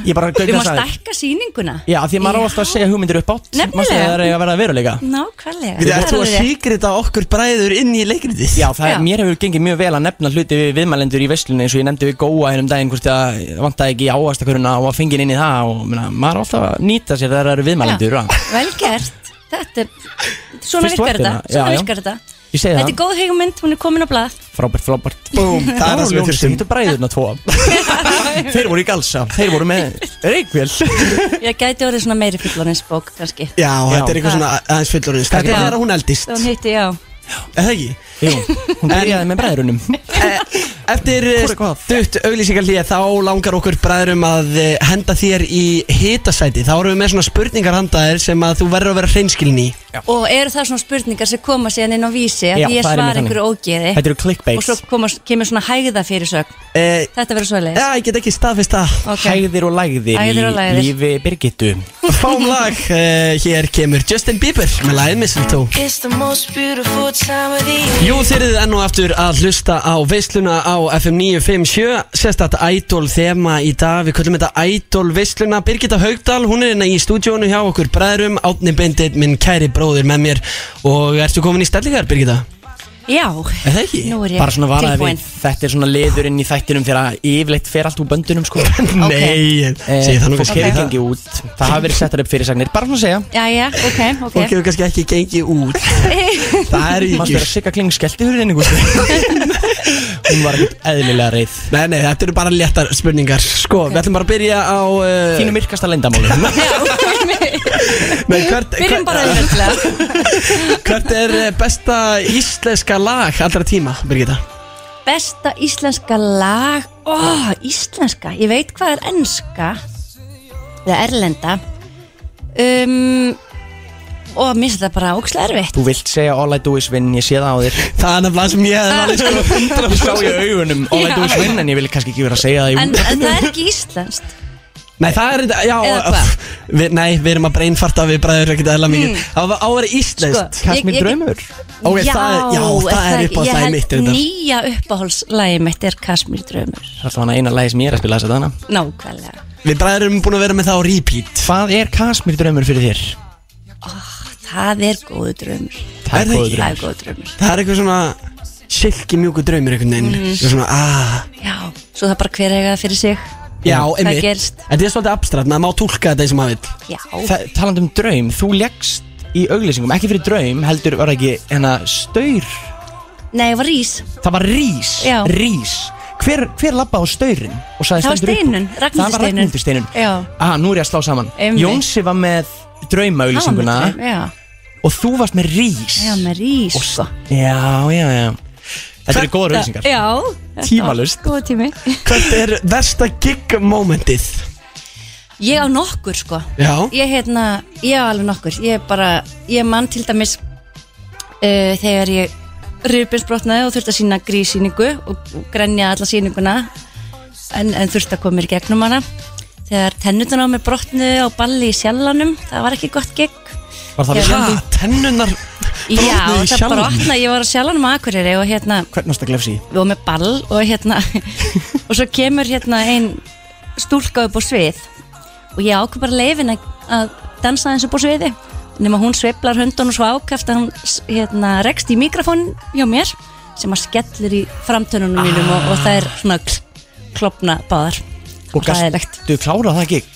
Speaker 2: Ég bara
Speaker 7: við
Speaker 2: gauka
Speaker 7: má stækka sýninguna
Speaker 2: Já, því maður á alltaf að segja hugmyndir upp átt
Speaker 7: Nefnilega.
Speaker 2: Maður segja það er að vera að veruleika
Speaker 7: nákvæmlega
Speaker 1: Við ætlum
Speaker 7: Það er
Speaker 1: að
Speaker 7: alveg rétt.
Speaker 1: síkrita okkur bræður inn í leikritið
Speaker 2: Já, það,
Speaker 7: Já.
Speaker 2: mér hefur gengið mjög vel að nefna hluti við viðmælendur í veslunni eins og ég nefndi við góa hérna um daginn hvort að vantaði ekki áastaköruna og að fingin inn í það og myrna, maður á alltaf að nýta sér þegar það eru viðmælendur að-
Speaker 7: Vel gert Þetta er, svona
Speaker 2: Fyrst
Speaker 7: virkar
Speaker 2: vaktina,
Speaker 7: þetta
Speaker 2: já,
Speaker 7: Svona
Speaker 2: já.
Speaker 7: virkar þetta
Speaker 2: Ég segi
Speaker 7: Þetta
Speaker 2: það,
Speaker 7: er góð hugmynd, hún er komin á blað
Speaker 2: frábært, frábært
Speaker 1: Búm, það er það sem við þurftum
Speaker 2: Þetta bræðurna tvo Þeir voru í galsa, þeir voru með reykvél
Speaker 7: Ég gæti orðið svona meiri fullorins bók kannski
Speaker 1: Já, þetta er eitthvað
Speaker 7: Já.
Speaker 1: svona aðeins fullorins
Speaker 2: Takk
Speaker 1: Þetta er
Speaker 2: fyrir.
Speaker 1: bara hún eldist,
Speaker 7: Þá hún hitti, já
Speaker 1: er það ekki?
Speaker 2: Jú, hún byrjaði með bræðurunum
Speaker 1: Eh, Eftir eh,
Speaker 2: Hvor er hvað?
Speaker 1: stutt auglýsingarlíð þá langar okkur bræðurum að eh, henda þér í hitasæti Þá erum við með svona spurningar handaðir sem að þú verður að vera hreinskilin í
Speaker 7: Og eru það svona spurningar sem koma síðan inn á vísi að
Speaker 2: Já,
Speaker 7: ég
Speaker 2: það er
Speaker 7: svar
Speaker 2: einmitt
Speaker 7: einhverju ógeði
Speaker 2: Þetta eru
Speaker 7: og svo
Speaker 2: clickbaits,
Speaker 7: koma, kemur svona hægða fyrir sög
Speaker 1: eh,
Speaker 7: Þetta verður svoleiðis
Speaker 1: Já, ég get ekki staðfist það
Speaker 7: okay.
Speaker 2: hægðir og lægðir
Speaker 7: Hægðir og
Speaker 2: í
Speaker 7: lægðir.
Speaker 2: lífi Birgittu
Speaker 1: Fáum lag, eh, hér kemur Justin Bieber með lagið Mistletoe
Speaker 8: It's the most beautiful time of the year.
Speaker 1: Jú, þeir eru enn og aftur að hlusta á veisluna á FM 957 Sérstætt Idol þema í dag Við köllum þetta Idol veisluna Birgitta Haugdal, hún er hérna í stúdíónu hjá okkur bræðrum Átni Bindit, minn kæri bróðir með mér Og ertu komin í stellingar, Birgitta?
Speaker 7: Já,
Speaker 1: Er það ekki?
Speaker 7: nú er ég
Speaker 2: bara svona varaði
Speaker 7: tilbúin
Speaker 2: við þetta er svona liður inn í þættinum þegar að yfirleitt fer allt úr böndunum sko
Speaker 1: Nei,
Speaker 2: Eh,
Speaker 1: segi það nú
Speaker 2: fólk
Speaker 1: kannski
Speaker 2: hefur
Speaker 1: ekki
Speaker 2: gengið út það hafa verið settar upp fyrirsagnir bara svona að segja
Speaker 7: Já, já, ok, ok
Speaker 1: Fólk hefur kannski ekki gengið út Það er
Speaker 2: Manstu
Speaker 1: ekki
Speaker 2: þegar Sigga Kling skellti hurðinni út Hún var ekkert eðlilega reið
Speaker 1: Nei, nei, þetta eru bara léttar spurningar Sko, við ætlum bara að byrja á uh,
Speaker 2: Þínu myrkasta leyndamálum
Speaker 1: nei, hvert,
Speaker 7: Byrjum bara
Speaker 1: hvert,
Speaker 7: auðvitað
Speaker 1: hvert er eh, besta íslenska lag allra tíma, Birgitta?
Speaker 7: Besta íslenska lag Ó, íslenska, ég veit hvað er enska eða erlenda um, og mér finnst það bara ókslega erfitt
Speaker 2: Þú vilt segja All I do is win, ég sé það á þér
Speaker 1: Það er nefnilega sem ég hefði valið sko
Speaker 2: Ég sá í augunum All I do is win En ég vil kannski ekki vera að segja það í
Speaker 7: en,
Speaker 2: útvarpinu.
Speaker 7: en það er ekki íslenskt
Speaker 1: Nei það er þetta, já
Speaker 7: Eða hvað? Mm.
Speaker 1: öff, við, Nei, við erum að breinfarta við bræður ekkert eðla mikið Það var áveri íslenskt
Speaker 7: Sko.
Speaker 2: Kast
Speaker 7: ég-
Speaker 2: mér
Speaker 7: ég-
Speaker 2: draumur
Speaker 1: Ok, það er- já, það
Speaker 7: er
Speaker 1: er
Speaker 7: ekki-
Speaker 1: uppáhalds lagið
Speaker 7: ég held
Speaker 1: mitt, reyndar.
Speaker 7: Nýja uppáhaldslagi mitt er Kasmir Drömmur
Speaker 2: Það er alltaf hana eina lagi sem ég er að spila þess að þarna
Speaker 7: Nákvæmlega
Speaker 1: Við bræður erum búin að vera með það á repeat
Speaker 2: Hvað er Kasmir draumur fyrir þér?
Speaker 7: Það er góðu drömmur
Speaker 1: Er það ekki?
Speaker 2: góður draumur.
Speaker 7: Það er góðu drömmur
Speaker 1: Það er eitthvað svona silki mjúku draumur einhvern veginn
Speaker 7: Mm.
Speaker 1: Svo Svona, aaa
Speaker 7: Já, svo það er bara hver eiga það fyrir sig
Speaker 1: Já,
Speaker 7: Það
Speaker 1: einmitt
Speaker 7: gerst.
Speaker 1: Þetta er svolítið abstrakt, maður má tólka þetta eins og maður vill
Speaker 7: Já,
Speaker 2: Þa- Talandi um draum, þú leggst í auglýsingum Ekki fyrir draum, heldur var það ekki hérna, staur
Speaker 7: nei, ég var rís
Speaker 2: Það var rís,
Speaker 7: Já.
Speaker 2: rís hver, hver labba á staurin og sagði
Speaker 7: Það var
Speaker 2: stendur upp úr?
Speaker 7: Steinunn, Ragnhildur
Speaker 2: það var
Speaker 7: Steinunn.
Speaker 2: Ragnhildur Steinun
Speaker 7: Já.
Speaker 2: ah, nú er ég að slá saman
Speaker 7: Einmitt.
Speaker 2: Jónsi var með draumauðlýsinguna
Speaker 7: Hann var með draum, já.
Speaker 2: og þú varst með rís
Speaker 7: Já, með rís sko.
Speaker 2: já, já, já þetta eru góðar auðlýsingar
Speaker 7: Já þetta var
Speaker 2: Tímalaust.
Speaker 7: Góð tími
Speaker 1: Hvert er versta gig momentið?
Speaker 7: Ég á nokkur sko
Speaker 1: Já
Speaker 7: Ég hérna, ég á alveg nokkur Ég bara, ég mann til dæmis uh, Þegar ég rifbeinsbrotnaði og þurfti að sína grísýningu og, og grenja alla sýninguna en, en þurfti að koma mér í gegnum hana Þegar tennutan á mér brotnu á balli í sjallanum Það var ekki gott gig
Speaker 2: var það við
Speaker 7: Já.
Speaker 1: Ha, tennunar
Speaker 7: Já,
Speaker 1: í
Speaker 7: það
Speaker 1: sjallanum?
Speaker 7: brotnaði, ég var á sjallanum á Akureyri og hérna
Speaker 2: hvernig varst að glefsi
Speaker 7: við vorum með ball og hérna og svo kemur hérna ein stúlka upp á svið og ég ákveð bara leifin að, að dansa eins upp á sviði nema hún sveiflar höndunum svo ákæft að hún s- hérna, rekst í mikrofón hjá mér sem að skellir í framtönunum mínum og, og það er svona kl- klofna báðar
Speaker 2: og
Speaker 7: Hræðilegt.
Speaker 2: gastu klárað það gig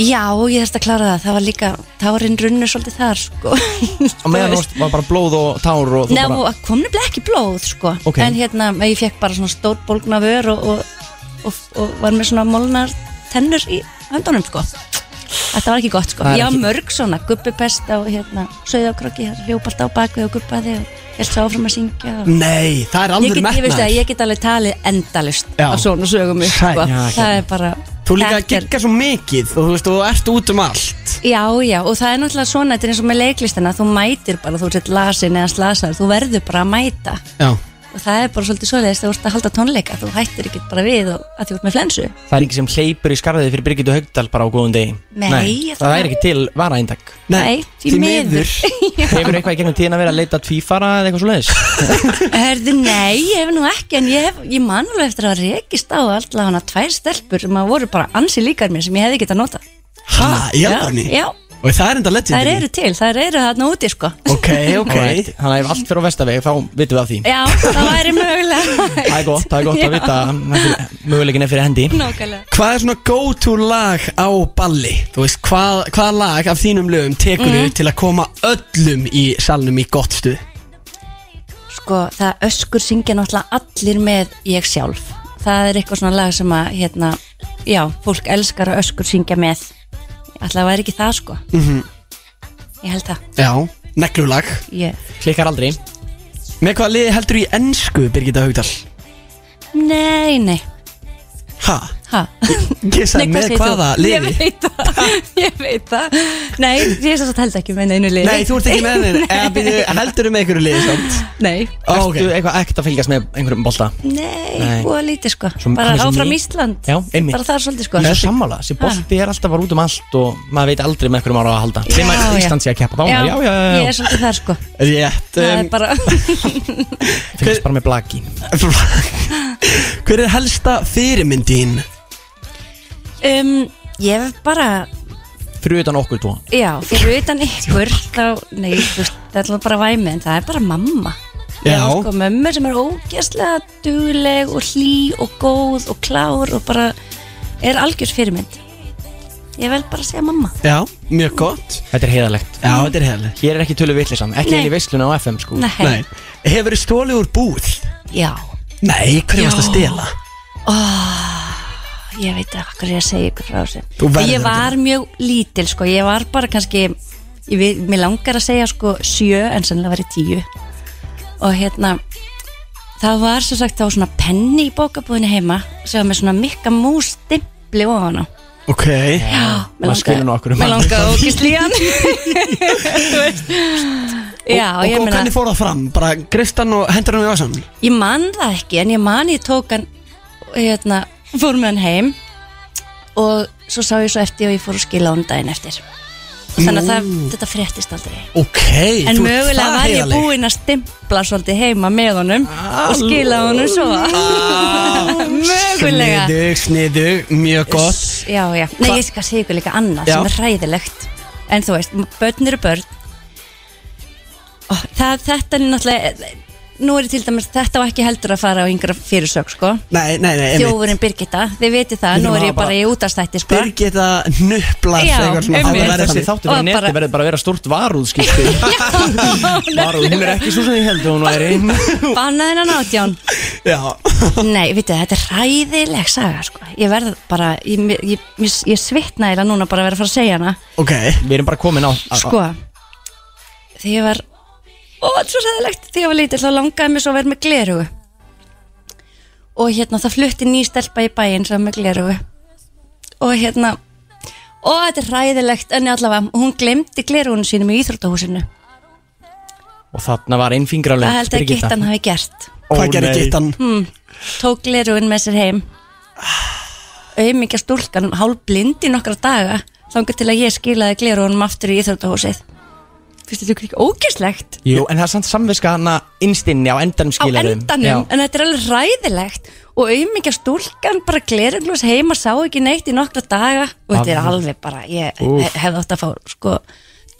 Speaker 7: Já, ég þurfti að klára það, það var líka tárin runnu svolítið þar sko
Speaker 2: og meðan varst- var bara blóð og tár og þú
Speaker 7: Nei,
Speaker 2: bara
Speaker 7: og kom nefnilega ekki blóð, sko
Speaker 2: Ok.
Speaker 7: En hérna, ég fekk bara svona stór bólgna vör og, og, og, og var með svona molnar tennur í höndunum, sko Þetta var ekki gott, sko
Speaker 2: Það er
Speaker 7: Ég var
Speaker 2: ekki-
Speaker 7: mörg svona, gubbupest á, hérna, sauðakrokki Hljóp alltaf á bakvið og gubbaði og held svo áfram að syngja og...
Speaker 1: Nei, það er
Speaker 7: Ég
Speaker 1: alveg
Speaker 7: get, ég veist
Speaker 1: metnaður
Speaker 7: að ég get alveg talið endalust
Speaker 1: Já.
Speaker 7: á svona sögum upp,
Speaker 1: Sæ-
Speaker 7: sko.
Speaker 2: Já, ekki.
Speaker 7: það er bara
Speaker 1: Þú líka að
Speaker 7: Þetta er-
Speaker 1: gigga svo mikið og þú veist, og þú ert út um allt
Speaker 7: Já, já, og það er náttúrulega svona þetta er eins og með leiklistina, þú mætir bara þú sett lasin eða slasar, þú verður bara að mæta
Speaker 1: Já
Speaker 7: og það er bara svolítið svoleiðis þegar þú ert að halda tónleika, þú hættir ekki bara við og, að þú ert með flensu
Speaker 2: það er ekki sem hleypur í skarðið fyrir Birgitu Haugdal bara á góðum degi
Speaker 7: Nei, ég
Speaker 2: það
Speaker 7: þarf-
Speaker 2: er ekki til varaeintak
Speaker 7: Nei, því miður.
Speaker 2: hefur eitthvað í gegnum tíðin að vera að leita tvífara eða eitthvað svoleiðis
Speaker 7: Herðu, nei, ég hef nú ekki en ég, hef, ég man alveg eftir að rekist á allavega hana tvær stelpur sem að voru bara ansi líkar mér sem ég hefði getað nota
Speaker 1: Ha, já,
Speaker 7: já,
Speaker 1: Og það er enda legendary
Speaker 7: þær eru til, þær eru þarna úti sko
Speaker 1: Ok, ok
Speaker 2: Alright, þannig að ef allt fyrir á vestaveg þá vitum við af því
Speaker 7: Já, það væri mögulega
Speaker 2: það er gott, það er gott
Speaker 7: Já,
Speaker 2: að vita að möguleikin er fyrir hendi
Speaker 7: Nákvæmlega
Speaker 1: Hvað er svona go-to lag á balli? Þú veist, hvað, hvað lag af þínum lögum tekur
Speaker 7: Mhm.
Speaker 1: þú til að koma öllum í salnum í gott stuð?
Speaker 7: Sko, það öskur syngja náttúrulega allir með ég sjálf Það er eitthvað svona lag sem að, hérna, já, fólk elskar að öskur syngja með Alltaf væri ekki það, sko
Speaker 2: Mhm.
Speaker 7: -hmm. Ég held það
Speaker 1: Já, neglulag
Speaker 7: ég...
Speaker 2: klikkar aldrei
Speaker 1: Með hvaða liði heldur í ennsku, Birgitta Haugdal?
Speaker 7: Nei, nei,
Speaker 1: Ha?
Speaker 7: ha
Speaker 1: Ég sagði
Speaker 7: Nei, hvað
Speaker 1: með
Speaker 7: segir þú?
Speaker 1: hvaða
Speaker 7: Ég
Speaker 1: liði?
Speaker 7: veit það, ég veit það Nei, ég svo held ekki með neinu liði
Speaker 1: Nei, þú ert ekki með henni Eða byrju, heldur með einhverju liði samt
Speaker 7: Nei,
Speaker 1: Ó, ok.
Speaker 2: ertu eitthvað ekkert að fylgjast með einhverjum bolta Nei.
Speaker 7: nei, búa lítið, sko
Speaker 2: Svo-
Speaker 7: Bara
Speaker 2: hann er svo
Speaker 7: áfram
Speaker 2: mi-
Speaker 7: Ísland
Speaker 2: Já, einmitt.
Speaker 7: Bara það er svolítið, sko
Speaker 2: ég er svo sammála, þessi bolti er alltaf bara út um allt og maður veit aldrei með hverjum ára á að halda
Speaker 7: Já,
Speaker 2: nema
Speaker 7: já.
Speaker 2: Ísland sé að keppa þá
Speaker 7: Já,
Speaker 2: já, já, já, já,
Speaker 7: ég er svolítið þar, sko
Speaker 1: Rétt
Speaker 7: Það
Speaker 1: um,
Speaker 7: er bara,
Speaker 2: fylgjast bara með blaki
Speaker 1: Hver er helsta fyrirmyndin?
Speaker 7: um, ég hef bara
Speaker 2: fyrir utan okkur tvo
Speaker 7: Já, fyrir utan ykkur þá, nei, þú veist, það er alltaf bara væmi en það er bara mamma
Speaker 1: Já.
Speaker 7: Já, sko, mömmu sem er ógeðslega dugleg og hlý og góð og klár og bara er algjör fyrirmynd Ég vel bara að segja mamma
Speaker 1: Já, mjög gott
Speaker 2: þetta er heiðalegt
Speaker 1: Já, þetta er hefðið
Speaker 2: hér er ekki tölu vittlisann, ekki
Speaker 7: Nei.
Speaker 2: heil í veisluna á FM sko
Speaker 7: Nei,
Speaker 1: Nei Hefur þið stólið úr búð?
Speaker 7: já,
Speaker 1: Nei, hverju varst að stela?
Speaker 7: Ah, ég veit ekki hvað ég er að segja ykkur frá þessu
Speaker 1: Þú verður
Speaker 7: Ég var mjög lítil, sko, ég var bara kannski ég, við- Mér langar að segja, sko, sjö en sennilega var ég tíu og hérna það var sem sagt þá svona penni í bókabúðinu heima sem var með svona mikka mús stimpli ofan á
Speaker 1: Ok
Speaker 7: Já,
Speaker 2: maður skilur nú okkur um
Speaker 7: mér
Speaker 2: hann.
Speaker 7: langaði ógist líðan Já,
Speaker 1: og,
Speaker 7: ég
Speaker 1: og
Speaker 7: meina
Speaker 1: hvernig fór það fram? Bara gristan og hendur hann í vasan?
Speaker 7: ég man það ekki en ég man ég tók hann hérna, fór með hann heim og svo sá ég svo eftir og ég fór að skila hann daginn eftir þannig að það, þetta fréttist aldrei
Speaker 1: Ok,
Speaker 7: En
Speaker 1: þú ert
Speaker 7: mögulega
Speaker 1: það
Speaker 7: var ég
Speaker 1: heiðarleg.
Speaker 7: búinn að stimpla svolítið heima með honum og skila honum svo Mögulega
Speaker 1: Sniðug, sniðug, mjög gott
Speaker 7: Já, já, nei ég skal segja ykkur líka annað
Speaker 1: Já.
Speaker 7: sem er hræðilegt En þú veist, börn eru börn Ó, það, Þetta er náttúrulega nú er til dæmis, þetta var ekki heldur að fara á yngra fyrirsök, sko
Speaker 1: Nei, nei, nei, einmitt
Speaker 7: Þjófurinn Birgitta, þið viti það,
Speaker 1: Við
Speaker 7: nú
Speaker 1: þurfum að
Speaker 7: er ég bara
Speaker 1: bara-
Speaker 7: í útastætti, sko
Speaker 1: Birgitta nöplar
Speaker 7: Já,
Speaker 1: eitthvað svona, það
Speaker 7: einmitt.
Speaker 1: verður
Speaker 2: Þessi
Speaker 1: þannig.
Speaker 2: þáttur á
Speaker 7: Og
Speaker 2: neti
Speaker 7: bara-
Speaker 2: verður bara að vera stórt varúðskipti Varúð, hún er ekki svo sem ég held að hún væri
Speaker 7: Bannaði hennan átján
Speaker 1: Já,
Speaker 7: Nei, vitið, þetta er ræðileg saga, sko Ég verð bara, ég, ég, ég, ég svitna eða núna bara að vera að fara að segja hana
Speaker 1: ok
Speaker 2: Við erum bara komin á á-
Speaker 7: Sko Þegar ég var Ó, þetta er svo sæðilegt Þegar ég var lítill þá langaði mér svo að vera með glerugu Og hérna það flutti ný stelpa í bæinn sem var með glerugu Og hérna Ó, þetta er ræðilegt En allavega, hún glemdi glerugunum sínum í Íþróttahúsinu
Speaker 2: Og þarna var einn
Speaker 7: Það
Speaker 2: fingralönd
Speaker 7: held ég að gittan hafi gert
Speaker 1: Hvað gerir gittan?
Speaker 7: Hm. Tók glerugun með sér heim Auðmikja stúlkan Hálblind í nokkra daga Þangar til að ég skilaði glerugunum aftur í Íþróttahúsið Fyrstu þetta ekki ógæslegt
Speaker 2: Jú, en það er samt samviska hana innstinni á endanum
Speaker 7: á
Speaker 2: skilur
Speaker 7: endanum, en þetta er alveg ræðilegt og auðmikja stúlkan bara gleruglós heima sá ekki neitt í nokkra daga og þetta er alveg bara ég
Speaker 2: Úff.
Speaker 7: hef, hefði átt að fá sko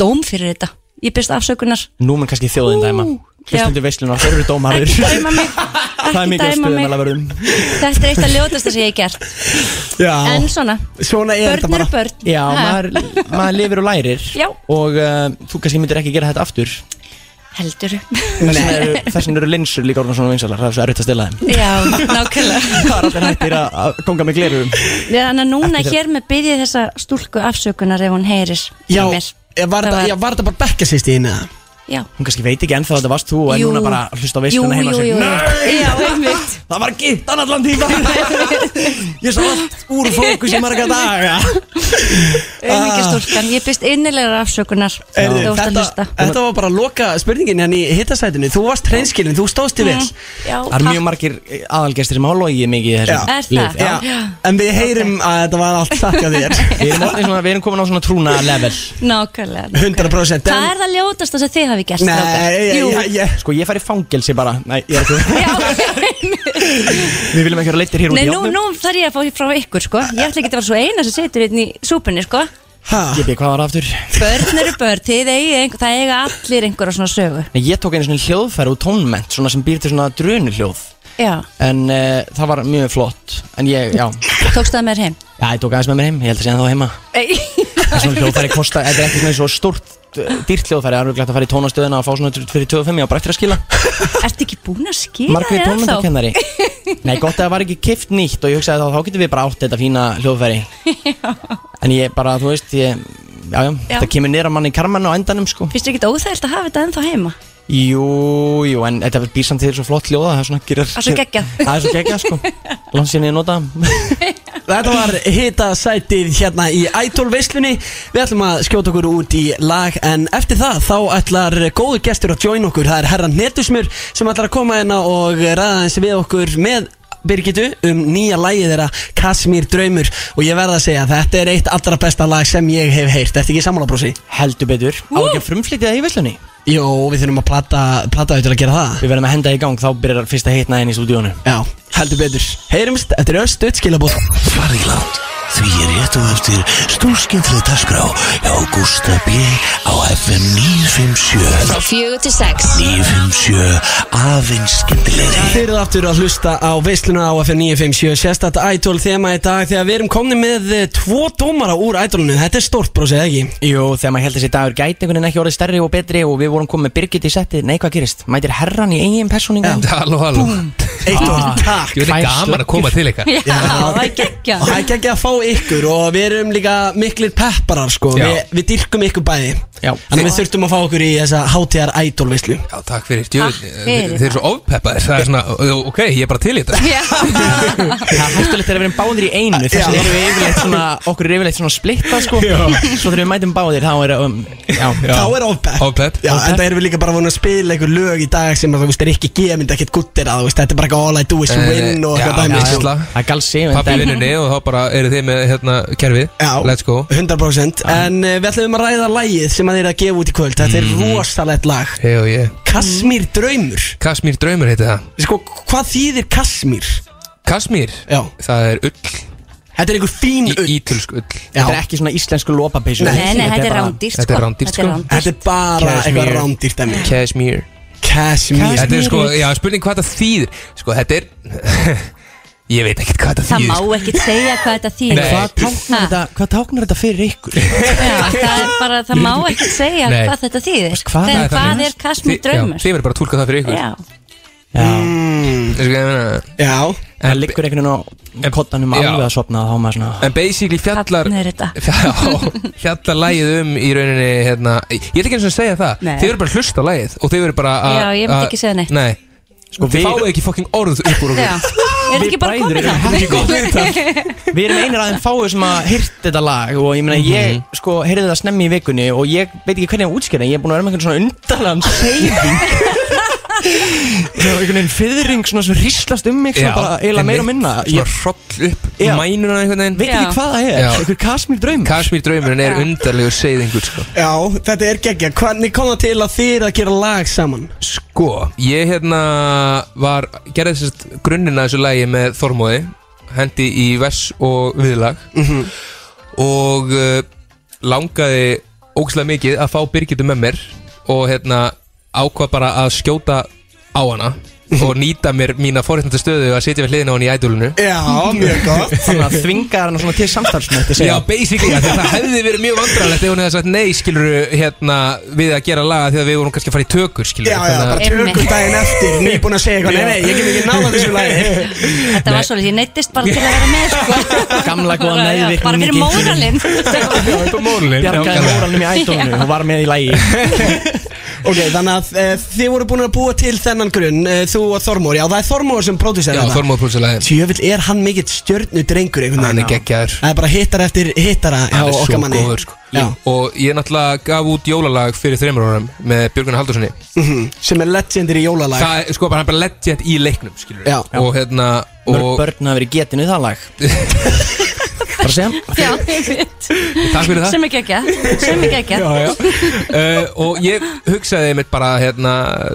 Speaker 7: dóm fyrir þetta, ég byrst afsökunar
Speaker 2: Nú mun kannski þjóðin dæma
Speaker 7: Ú, já.
Speaker 2: Hlustundu veisluna, þeir eru dómarir
Speaker 7: ekki dæma mig
Speaker 2: Það er
Speaker 7: ekki
Speaker 2: mikið að
Speaker 7: dæma
Speaker 2: stuðum
Speaker 7: mig
Speaker 2: alveg verðum
Speaker 7: þetta er eitt af ljótasta sem ég hef gert
Speaker 1: Já,
Speaker 7: en svona,
Speaker 1: svona er þetta bara
Speaker 7: börn eru börn
Speaker 2: Já,
Speaker 7: Ha,
Speaker 2: maður, maður lifir og lærir
Speaker 7: Já.
Speaker 2: Og uh, þú kannski myndir ekki gera þetta aftur
Speaker 7: heldur
Speaker 2: Þessin eru, þessin eru linsur líka orðin svona vinsalar Það er svo erfitt að stila þeim
Speaker 7: já, nákvæmlega
Speaker 2: Það er allir hættir að- að konga með glerum
Speaker 7: Já, þannig að núna
Speaker 2: Ekki þegar-
Speaker 7: hér með byrja þessa stúlku afsökunar ef hún heyrir í
Speaker 1: Já,
Speaker 7: mér.
Speaker 1: eh, var
Speaker 7: Það
Speaker 1: þetta- já, var þetta bara bekkasist í hérna?
Speaker 7: já
Speaker 2: Hún kannski veit ekki ennþá að þetta varst þú En
Speaker 7: Jú.
Speaker 2: núna bara hlusta á veisluna heima og segir,
Speaker 7: Nei! Já, einmitt
Speaker 2: Það var gittan allan tíma Ég sá allt úr fókus í marga daga
Speaker 7: Auðmyggjastúlkan, ég byrst innilegar afsökunar
Speaker 1: Heyrðu,
Speaker 7: Þú ert að
Speaker 1: þetta,
Speaker 7: hlusta
Speaker 1: þetta var bara að loka spurningin hérna í hittasætinu Þú varst hreinskilin, þú stóðst í vel
Speaker 7: Já,
Speaker 2: Það er mjög margir eh, aðalgestir sem hafa logið mikið í
Speaker 1: Já.
Speaker 2: þessu
Speaker 7: Er það?
Speaker 2: Já.
Speaker 1: Já, en við heyrum að þetta var allt satt hjá þér
Speaker 2: Við erum, orðnir svona, við erum komin á svona trúna level
Speaker 7: nákvæmlega nákvæmlega.
Speaker 1: 100%
Speaker 7: Hvað
Speaker 1: en-
Speaker 7: er það ljótasta sem þið hafi gert? strákar?
Speaker 1: Nei,
Speaker 7: Jú.
Speaker 1: ég, ég, ég,
Speaker 2: Sko ég fær í fangelsi bara Nei, ég er ekki
Speaker 7: Já,
Speaker 2: Við viljum ekki vera leittir hér út
Speaker 7: nei,
Speaker 2: í
Speaker 7: nú,
Speaker 2: játnum
Speaker 7: nú þarf ég að fá frá ykkur sko Ég ætla ekki að vera svo eina sem setur hérna í súpunni sko
Speaker 1: ha,
Speaker 2: Ég byrja hvað var aftur Nei,
Speaker 7: Börn eru börn, þið eigi einhver, það eiga allir einhverja svona sögu
Speaker 2: ég tók einu svona hljóðfæri úr tónment Svona sem býr til svona drönuhljóð
Speaker 7: Já,
Speaker 2: En uh, það var mjög flott En ég, já
Speaker 7: tókst það með þér heim?
Speaker 2: Já, ég tók aðeins með mér heim Ég held að sé það heima
Speaker 7: Ei,
Speaker 2: En Svona hljóðfæri kosta Þetta er ekki svona svo stórt eh, dýrt hljóðfæri Það er örugglega hægt að fara í tónastöðuna og fá svona fyrir 25 Ég á bara eftir að skila
Speaker 7: Ertu ekki búin að skýra
Speaker 2: Margrét tónmyndakennari Nei, gott að það var ekki kift nýtt og ég hugsaði þá, þá getum við bara átt þetta fína hljóðfæri En ég bara, þú veist, ég Já, já,
Speaker 7: Já.
Speaker 2: þetta kemur niður á manni í karmann á endanum, sko
Speaker 7: Fyrstu ekki óþægilt að hafa þetta ennþá heima?
Speaker 2: Jú, jú, en þetta býr samt til svo flott hljóða Það er svona gerir
Speaker 7: Það er svo geggjað.
Speaker 2: Það er svo geggjað, sko Langt síðan ég nota
Speaker 1: Þetta var hittasætið hérna í Idol veislunni Við ætlum að skjóta okkur út í lag En eftir það þá ætlar góður gestur að join okkur Það er herra Netusmur sem ætlar að koma hérna og ræða eins við okkur með Birgitu um nýja lagið þeirra Kasmír Draumur og ég verða að segja að þetta er eitt allra besta lag sem ég hef heyrt Þetta ekki sammála brósi?
Speaker 2: Heldur betur Á ekki að frumflytja það í veslunni
Speaker 1: Jó, við þurfum að plata, plata til að gera það
Speaker 2: Við verðum að henda í gang, þá byrjar fyrsta hitna inn í stúdíónu
Speaker 1: Já, heldur betur Heyrumst, þetta er östuð skilabóð
Speaker 9: Farið langt, því ég rétt og eftir stórskemmtileg dagskrá hjá Gústa B á FM 957
Speaker 6: Frá fjögur til sex
Speaker 9: 957 aðeins skemmtilegri
Speaker 1: Þeir eru aftur að hlusta á veisluna á FM 957 Sérstætt Idol þema í dag Þegar við erum komni með eh, tvo dómara úr Idolinu Þetta er stórt brósið, eða ekki?
Speaker 2: Jú, þegar maður held þessi dagur gæti einhvern veginn ekki orðið stærri og betri og við vorum komið með Birgit í settið, nei hvað gerist? Mætir herran í eigin persóninga
Speaker 10: Halló, halló
Speaker 1: Eitt og
Speaker 2: Ah.
Speaker 1: takk
Speaker 10: Ég veit
Speaker 2: Tvær
Speaker 10: ekki gaman að koma til ykkar
Speaker 7: Já, það er geggja
Speaker 1: Og það er ekki að fá ykkur Og við erum líka miklir pepparar sko
Speaker 10: Já.
Speaker 1: Vi, Við dyrkum ykkur bæði
Speaker 2: Já.
Speaker 1: Þannig við þurftum að fá okkur í þessa hátíðar Idol veislu
Speaker 10: Já, takk fyrir, djöfull,
Speaker 7: Takk
Speaker 10: eh,
Speaker 7: fyrir.
Speaker 10: þið þið eru svo ofpeppaðir Það er svona, ó, ok, ég er bara til í þetta
Speaker 2: Það er hættulegt þegar við erum báðir í einu þess vegna erum við yfirleitt svona, okkur er yfirleitt svona splittað sko Svo þegar við mætum báðir þá er um, já,
Speaker 10: Já.
Speaker 1: Þá er ofpepp
Speaker 10: Ofpepp.
Speaker 1: Já, en það erum við líka bara voru að spila einhver lög í dag sem að þú veist er ekki gefið ekkert guttir að þú veist þetta er bara eitthvað all I do is
Speaker 10: Nei, nei,
Speaker 1: win og
Speaker 10: Eh, já,
Speaker 1: eitthvað dæmi
Speaker 10: já,
Speaker 1: sko.
Speaker 10: Veisla.
Speaker 2: það er galsi en
Speaker 10: Pappi
Speaker 2: þetta er-
Speaker 10: vinnunni og þá bara eru þið með hérna kerfið
Speaker 1: Já,
Speaker 10: Let's go
Speaker 1: 100% En uh, við ætlum að ræða lagið sem að þeir eru að gefa út í kvöld Þetta
Speaker 10: Mhm.
Speaker 1: er rosalegt lag
Speaker 10: Hei og ég
Speaker 1: Kasmír draumur
Speaker 10: oh, Kasmír draumur heiti það
Speaker 1: Sko, hvað þýðir Kasmír?
Speaker 10: Kasmír,
Speaker 1: Já
Speaker 10: það er ull
Speaker 1: Þetta er einhver fín
Speaker 10: Í
Speaker 1: ull
Speaker 10: ítölsk ull
Speaker 1: Já,
Speaker 2: Þetta er ekki svona íslensku lopapeysu
Speaker 7: Nei, nei, þetta er
Speaker 2: bara-
Speaker 7: rándýrt
Speaker 10: Þetta er rándýrt, sko.
Speaker 1: þetta er bara
Speaker 10: Kasmír.
Speaker 1: eitthvað rándýrt dæmi
Speaker 10: Kasmír
Speaker 1: Kashmir
Speaker 10: Þetta er sko, já, spurning hvað þetta þýðir Sko, þetta er Ég veit ekkert hvað þetta
Speaker 7: Það
Speaker 10: þýðir sko.
Speaker 7: má ekkert segja hvað þetta þýðir
Speaker 10: Nei. Hvað táknar
Speaker 7: Ha,
Speaker 2: Þetta- Hvað táknar þetta fyrir ykkur?
Speaker 7: Það er bara, það má ekkert segja
Speaker 10: Nei.
Speaker 7: hvað þetta þýðir
Speaker 10: Hvað
Speaker 7: En
Speaker 10: er það?
Speaker 7: hvað er
Speaker 10: Þi-
Speaker 7: kasmur
Speaker 10: já,
Speaker 7: draumur?
Speaker 10: Þið verður bara að tólka það fyrir ykkur
Speaker 7: Já,
Speaker 2: Já.
Speaker 10: Þessu hvað ég meina?
Speaker 1: Já
Speaker 2: Það liggur einhvern veginn á kottanum
Speaker 10: Já.
Speaker 2: alveg að sopna þá er maður svona
Speaker 10: En basically fjallar
Speaker 7: Þarna er þetta.
Speaker 10: fjall, Fjallar lægið um í rauninni hérna, Ég ég ætla ekki eins og að segja það
Speaker 7: Nei.
Speaker 10: Þið verður bara að hlusta á lægið Og þið verður bara að
Speaker 7: Já, ég myndi
Speaker 10: að-
Speaker 7: ekki segja neitt.
Speaker 10: Nei Sko,
Speaker 2: við-
Speaker 10: þið fáið ekki fucking orð upp úr
Speaker 7: já
Speaker 10: okkur
Speaker 7: Er ekki bara komið
Speaker 2: erum
Speaker 7: það?
Speaker 2: ekki gott Við erum einir aðeins fáið sem að hýrt þetta lag og ég meina
Speaker 10: Mhm.
Speaker 2: ég sko heyrði þetta snemmi í vikunni og ég veit ekki hvernig að útskýra en ég er búin að vera með einhvern svona undanlegan seyðing Það var einhvern veginn fyrring svona sem hrýslast um mig svona bara eiginlega meira og minna
Speaker 10: Svona
Speaker 2: Ég
Speaker 10: hroll upp
Speaker 2: Já.
Speaker 10: mænuna einhvern veginn
Speaker 2: veit
Speaker 7: Já.
Speaker 2: ekki hvað það er,
Speaker 10: sko. Já.
Speaker 2: einhver kasmír draum
Speaker 10: Kasmír draumurinn er undarlegur seyðingur sko.
Speaker 1: Já, þetta er geggja Hvernig kom það til að þið er að gera lag saman?
Speaker 10: sko, ég hérna var, gerði sérst grunninn að þessu lægi með Þormóði hendi í vers og viðlag
Speaker 1: Mhm.
Speaker 10: og uh, langaði ógæslega mikið að fá Birgitu með mér og hérna ákvað bara að skjóta á hana
Speaker 1: Mhm.
Speaker 10: og nýta mér mína forréttandi stöðu að sitja við hliðina á hann í ædolunu
Speaker 1: Já, mjög gott
Speaker 2: Þannig að þvinga hana svona til samstarfsmætti
Speaker 10: Já,
Speaker 2: segja
Speaker 10: basically, af því að það hefði verið mjög vandrarlegt ef hún hefði sagt nei, skilur hérna, við að gera laga því að við vorum kannski að fara í tökur, skilur
Speaker 1: Já, já, bara tökum
Speaker 7: Einmitt.
Speaker 1: daginn eftir Nýbúin að segja eitthvað Nei, nei, ég get ekki náða þessu lagi
Speaker 7: Þetta var svolítið, ég neittist bara til að vera með sko.
Speaker 2: Gamla góða
Speaker 7: Bara, já,
Speaker 2: meðvirkningin.
Speaker 7: Bara fyrir móralinn
Speaker 10: já, upp á mólin
Speaker 2: Bjargaði móralnum í ædolunum og var með í lægi
Speaker 1: Ok, þannig að e, þið voru búin að búa til þennan grunn e, Þú og Þormór, já það er Þormór sem pródúsir
Speaker 10: Já, Þormóð Púlsalagi
Speaker 1: Tjöfull er hann mikill stjörnudrengur einhvern
Speaker 10: Hann er
Speaker 1: veginn, já.
Speaker 10: geggjaður.
Speaker 1: Það er bara hittar eftir hittara hjá
Speaker 10: Hann er
Speaker 1: okkar
Speaker 10: svo
Speaker 1: manni
Speaker 10: góður sko.
Speaker 1: Já,
Speaker 10: Og ég náttúrulega gaf út jólalag fyrir þreymur árum með Björgun Haldurssoni
Speaker 1: mhm, sem er legendir í jólalag
Speaker 10: Það er sko bara, hann er bara legend í leiknum skilur
Speaker 1: Já.
Speaker 10: Og hérna
Speaker 2: Mörg
Speaker 10: og,
Speaker 2: börn hafa verið getinu það lag Bara að
Speaker 10: Mhm.
Speaker 2: segja
Speaker 7: Já, einmitt.
Speaker 10: Takk fyrir það
Speaker 7: sem ekki ekki sem ekki ekki
Speaker 10: já, já. Uh, og ég hugsaði einmitt bara hérna,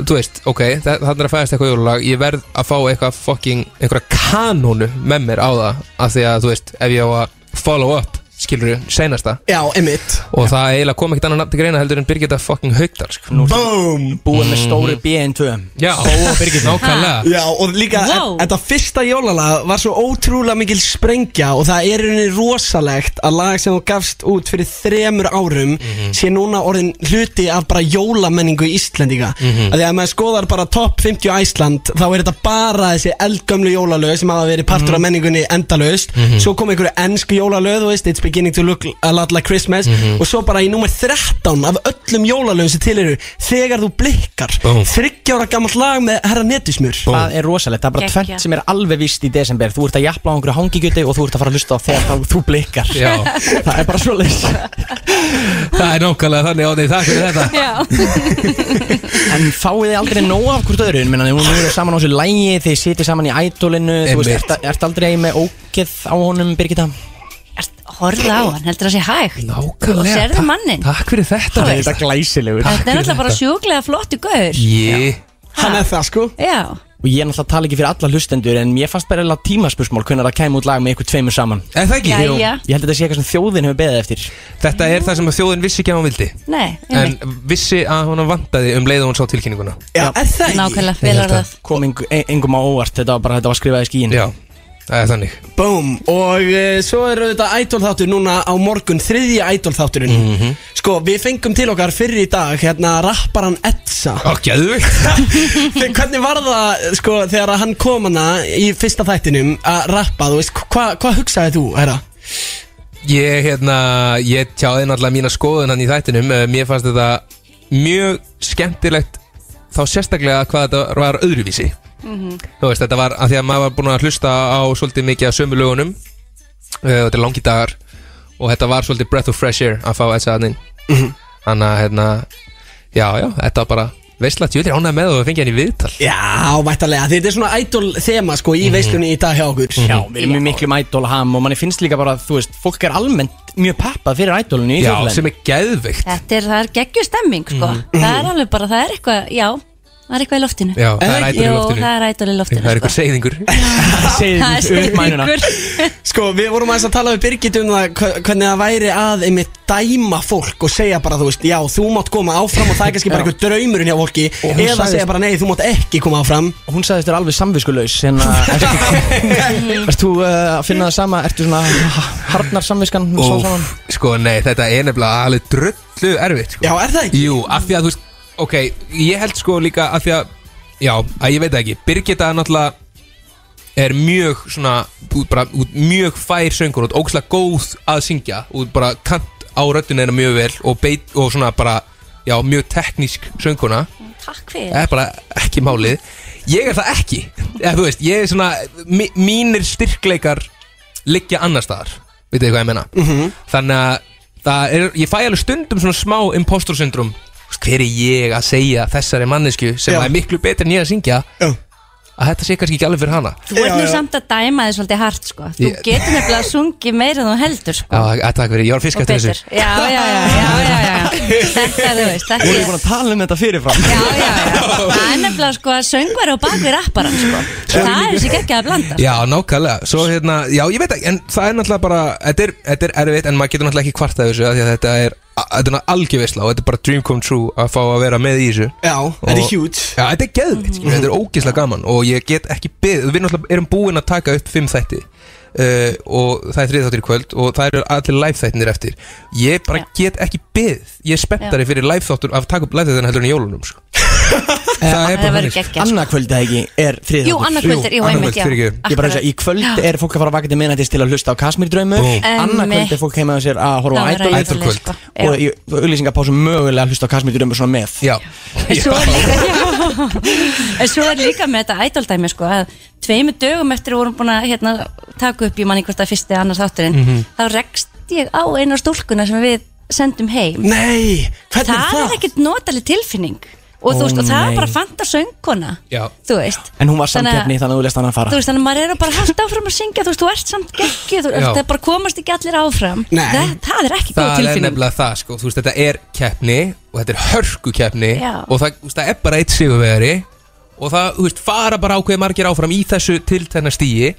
Speaker 10: þú veist, ok þa- þarna er að fæðast eitthvað jólulag, ég verð að fá eitthvað fucking, einhverja kanónu með mér á það, af því að þú veist ef ég á að follow up, skilur ég seinasta,
Speaker 1: Já, emitt
Speaker 10: og það eiginlega kom ekkert annað nafn til greina heldur en Birgitta fucking Haugdal sko.
Speaker 1: Boom
Speaker 2: Búið með stóru BN2
Speaker 10: Já, og Birgitta, nákvæmlega
Speaker 1: Já, og líka
Speaker 7: Wow.
Speaker 1: e- þetta fyrsta jólalag var svo ótrúlega mikil sprengja og það er henni rosalegt að lag sem þú gafst út fyrir þremur árum sé núna orðin hluti af bara jólamenningu Íslendinga mm -hmm. að því að maður skoðar bara top 50 Æsland þá er þetta bara þessi eldgömlu jólalög sem hafa verið partur af menningunni endalaust svo kom einhverju ennsku jólalög þú veist, it's beginning to look a lot like Christmas og svo bara í númer 13 af öllum jólalögum sem til eru þegar þú blikkar
Speaker 10: Búm.
Speaker 1: 30 ára gammalt lag með herra netismur
Speaker 2: Það er rosalegt, það er bara
Speaker 7: Geggjað.
Speaker 2: tvennt sem er alveg vist í desember Þú ert að japla á einhverju hangigjöti og þú ert að fara að hlusta á þegar þá- þú blikkar
Speaker 10: Já,
Speaker 2: Það er bara svoleiðis
Speaker 10: það er nákvæmlega þannig á því, takk fyrir þetta
Speaker 7: Já.
Speaker 2: En fáið þið aldrei nóg af hvort öðru Menna, Nú eru saman á þessu lægi, þið sitið saman í ædolinu Þú veist,
Speaker 10: Einmitt.
Speaker 2: ert, ert aldrei með ógeð á honum, Birgitta
Speaker 7: Ert- horfðu á hann, heldur það sé hægt
Speaker 10: Nákvæmlega,
Speaker 7: og sérðu
Speaker 10: takk-
Speaker 7: mannin
Speaker 10: Takk fyrir þetta
Speaker 7: Það er
Speaker 10: Birgitta.
Speaker 2: glæsilegur
Speaker 7: þetta er náttúrulega bara sjúklega flottu gaur
Speaker 10: Ég,
Speaker 1: Hann er það sko
Speaker 7: já,
Speaker 2: Og ég er náttúrulega að tala ekki fyrir alla hlustendur En mér fannst bara eiginlega tímaspursmál Hvernig það kæmi út lag með ykkur tveimur saman
Speaker 10: er það
Speaker 7: já,
Speaker 10: ekki?
Speaker 7: já,
Speaker 2: Ég held að þetta sé eitthvað sem þjóðin hefur beðið eftir
Speaker 10: Þetta er það sem að þjóðin vissi ekki að hún vildi
Speaker 7: nei,
Speaker 10: En
Speaker 7: einmitt.
Speaker 10: vissi að hún vantaði um leið og hún sá tilkynninguna
Speaker 1: Já, er það ekki?
Speaker 7: nákvæmlega,
Speaker 10: Ég
Speaker 7: vel
Speaker 10: held
Speaker 7: orðað
Speaker 2: kom engu- e- engum á óvart þetta var bara þetta var skrifað í skíin
Speaker 10: Já, það er þannig
Speaker 1: Búm Og uh, svo er þetta ædolþáttur núna á morgun Þriðja ædolþátturinn Sko, við fengum til okkar fyrir í dag Hérna rapparan Edsa
Speaker 10: Ó, geðvikt
Speaker 1: Þegar hvernig var það, sko, þegar að hann kom hana Í fyrsta þættinum að rappa Þú veist, hvað hva hugsaði þú, herra?
Speaker 10: Ég, hérna, ég tjáði náttúrulega mína skoðun hann í þættinum Eh, Mér fannst þetta mjög skemmtilegt Þá sérstaklega hvað þetta var öðruvísi Þú veist, þetta var að því að maður var búin að hlusta á svolítið mikið af sömu lögunum Eh, Þetta er langi dagar Og þetta var svolítið breath of fresh air að fá þess að hann Þannig að, hérna, já, já, þetta var bara Veistla, tjóðir ánægð með og fengi hann í viðtal
Speaker 1: Já, vættalega, þetta er svona ædol þema, sko, í veislunni í dag hjá okkur
Speaker 2: Já, við erum í miklum ædolham og manni finnst líka bara, þú veist, fólk er almennt mjög peppað fyrir ædolinu í
Speaker 10: Já,
Speaker 2: þjóðlegin
Speaker 10: sem er geðvikt Mm.
Speaker 7: þetta er, það er geggjur stemming sko. það er alveg bara, það er eitthvað, já Það er eitthvað í loftinu
Speaker 10: Já, það er ædol í
Speaker 7: Jú,
Speaker 10: loftinu.
Speaker 7: það er ædol í loftinu sko.
Speaker 10: Það er eitthvað seyðingur
Speaker 7: Það er seyðingur.
Speaker 1: Sko, við vorum aðeins að tala við Birgit um það hva- hvernig það væri að einmitt dæma fólk og segja bara, þú veist, já, þú mátt koma áfram og það er kannski bara
Speaker 2: Já.
Speaker 1: einhver draumurinn hjá fólki
Speaker 2: Og hún
Speaker 1: eða
Speaker 2: sagðist-
Speaker 1: segja bara, nei, þú mátt ekki koma áfram
Speaker 2: Hún sagðist þér alveg samviskulegs en uh, að Erst þú uh, að finna það sama, ertu svona harnar samviskan
Speaker 10: Úff,
Speaker 2: svo saman?
Speaker 10: Sko nei, þetta er nefnilega alveg drullu erfitt sko.
Speaker 1: Já, er það ekki?
Speaker 10: Jú, af því að þú veist Ok, ég held sko líka af því að Já, að ég veit það ekki Birgitta er náttúrulega Er mjög svona þú ert bara, út, Mjög fær söngur og ógslag góð að syngja Og bara kant á röddinu hennar mjög vel Og, beit, og svona bara Já, mjög teknísk sönguna
Speaker 7: Takk fyrir
Speaker 10: Það er bara ekki málið Ég er það ekki Eða, Þú veist, ég er svona mi- Mínir styrkleikar liggja annar staðar Veitu þið hvað ég menna
Speaker 1: Mhm.
Speaker 10: Þannig að það er, ég fæ alveg stundum svona smá impostor syndrom Hver er ég að segja þessari mannesku sem
Speaker 1: Já.
Speaker 10: er miklu betur en ég að syngja
Speaker 1: Já.
Speaker 10: að þetta sé kannski ekki alveg fyrir hana
Speaker 7: Þú ert nú samt að dæma þið svolítið hart sko Þú
Speaker 10: Ég-
Speaker 7: getur nefnilega að sungi meira en þú heldur sko
Speaker 10: Já, að- takk fyrir, ég var fisk
Speaker 7: Og
Speaker 10: eftir
Speaker 7: betur
Speaker 10: þessu
Speaker 7: Já, já, já, já, já, já Þetta, þú veist, þetta
Speaker 2: Þú
Speaker 7: er
Speaker 2: erum búin að tala um þetta fyrirfram
Speaker 7: Það er nefnilega sko að söngvar og bakvið rapparan sko Það er þessi ekki að blanda
Speaker 10: Já, nákvæmlega, svo hérna, já ég veit ekki En það er náttúrulega bara, þetta er, þetta er erfitt En maður getur náttúrulega ekki kvartað þessu af Því að þetta er, að- þetta er náttúrulega algjörvisla Og þetta er bara dream come true að fá að vera með í þessu
Speaker 1: Já, þetta er huge
Speaker 10: Já, þetta er geðvitt, mm þetta er ógeðslega gaman Og ég get ekki beðið, við náttúrulega erum búin að taka upp Fimm þætti uh, Og það er þrið þáttir í kvöld og það eru allir live þættinir eftir Ég bara get ekki beðið Ég er spenntari fyrir live þáttur Af að taka upp live þættin heldur en í jólunum sko. Það er
Speaker 7: Það
Speaker 10: bara
Speaker 7: verður
Speaker 10: þannig.
Speaker 7: geggjað, sko.
Speaker 2: Annað kvöld eða ekki er þriðið
Speaker 7: Jú, annað kvöld er, jú,
Speaker 10: annað
Speaker 7: einmitt,
Speaker 10: kvöld,
Speaker 7: já
Speaker 10: fyrirgefðu.
Speaker 2: Ég bara hugsa, í kvöld er fólk að fara að vakna til minnættis til að hlusta á Kasmir draumur
Speaker 10: Búm.
Speaker 2: Annað kvöld er fólk heima á sér að horfa á
Speaker 7: Það verður
Speaker 2: Idol
Speaker 7: Idol Idol kvöld. sko. Já.
Speaker 2: Og í auðlýsingapásum mögulega að hlusta á Kasmir draumur svona með
Speaker 10: Já,
Speaker 7: En svo er líka En svo er líka með þetta ædaldæmi sko að tveimur dögum eftir að við vorum búin að hérna, taka upp í manni hvort að fyrsti eða annars þátturinn
Speaker 10: Mhm.
Speaker 7: þá rekst ég á einu af stúlkuna sem við sendum heim
Speaker 1: Nei, hvernig
Speaker 7: það,
Speaker 1: það?
Speaker 7: er ekkert notaleg tilfinning og,
Speaker 2: Ó,
Speaker 7: þú veist, og það
Speaker 2: nei.
Speaker 7: er bara fanta sönguna
Speaker 10: já
Speaker 7: þú veist
Speaker 2: En hún var
Speaker 7: Þannig að-
Speaker 2: samkeppni þannig að þú lest hann að
Speaker 7: Þú
Speaker 2: fara
Speaker 7: veist, þannig að maður er að bara halda áfram að syngja Þú veist, þú ert samt ekki Þú
Speaker 10: Já.
Speaker 7: veist, það bara komast ekki allir áfram
Speaker 1: Nei.
Speaker 7: það, það er ekki góð
Speaker 10: það er
Speaker 7: tilfinning
Speaker 10: nefnilega það sko, þú veist, þetta er keppni og þetta er hörku keppni
Speaker 7: Já.
Speaker 10: og það, þú veist, það er bara eitt sigurvegari og það, þú veist, fara bara ákveði margir áfram í þessu til þennar stíi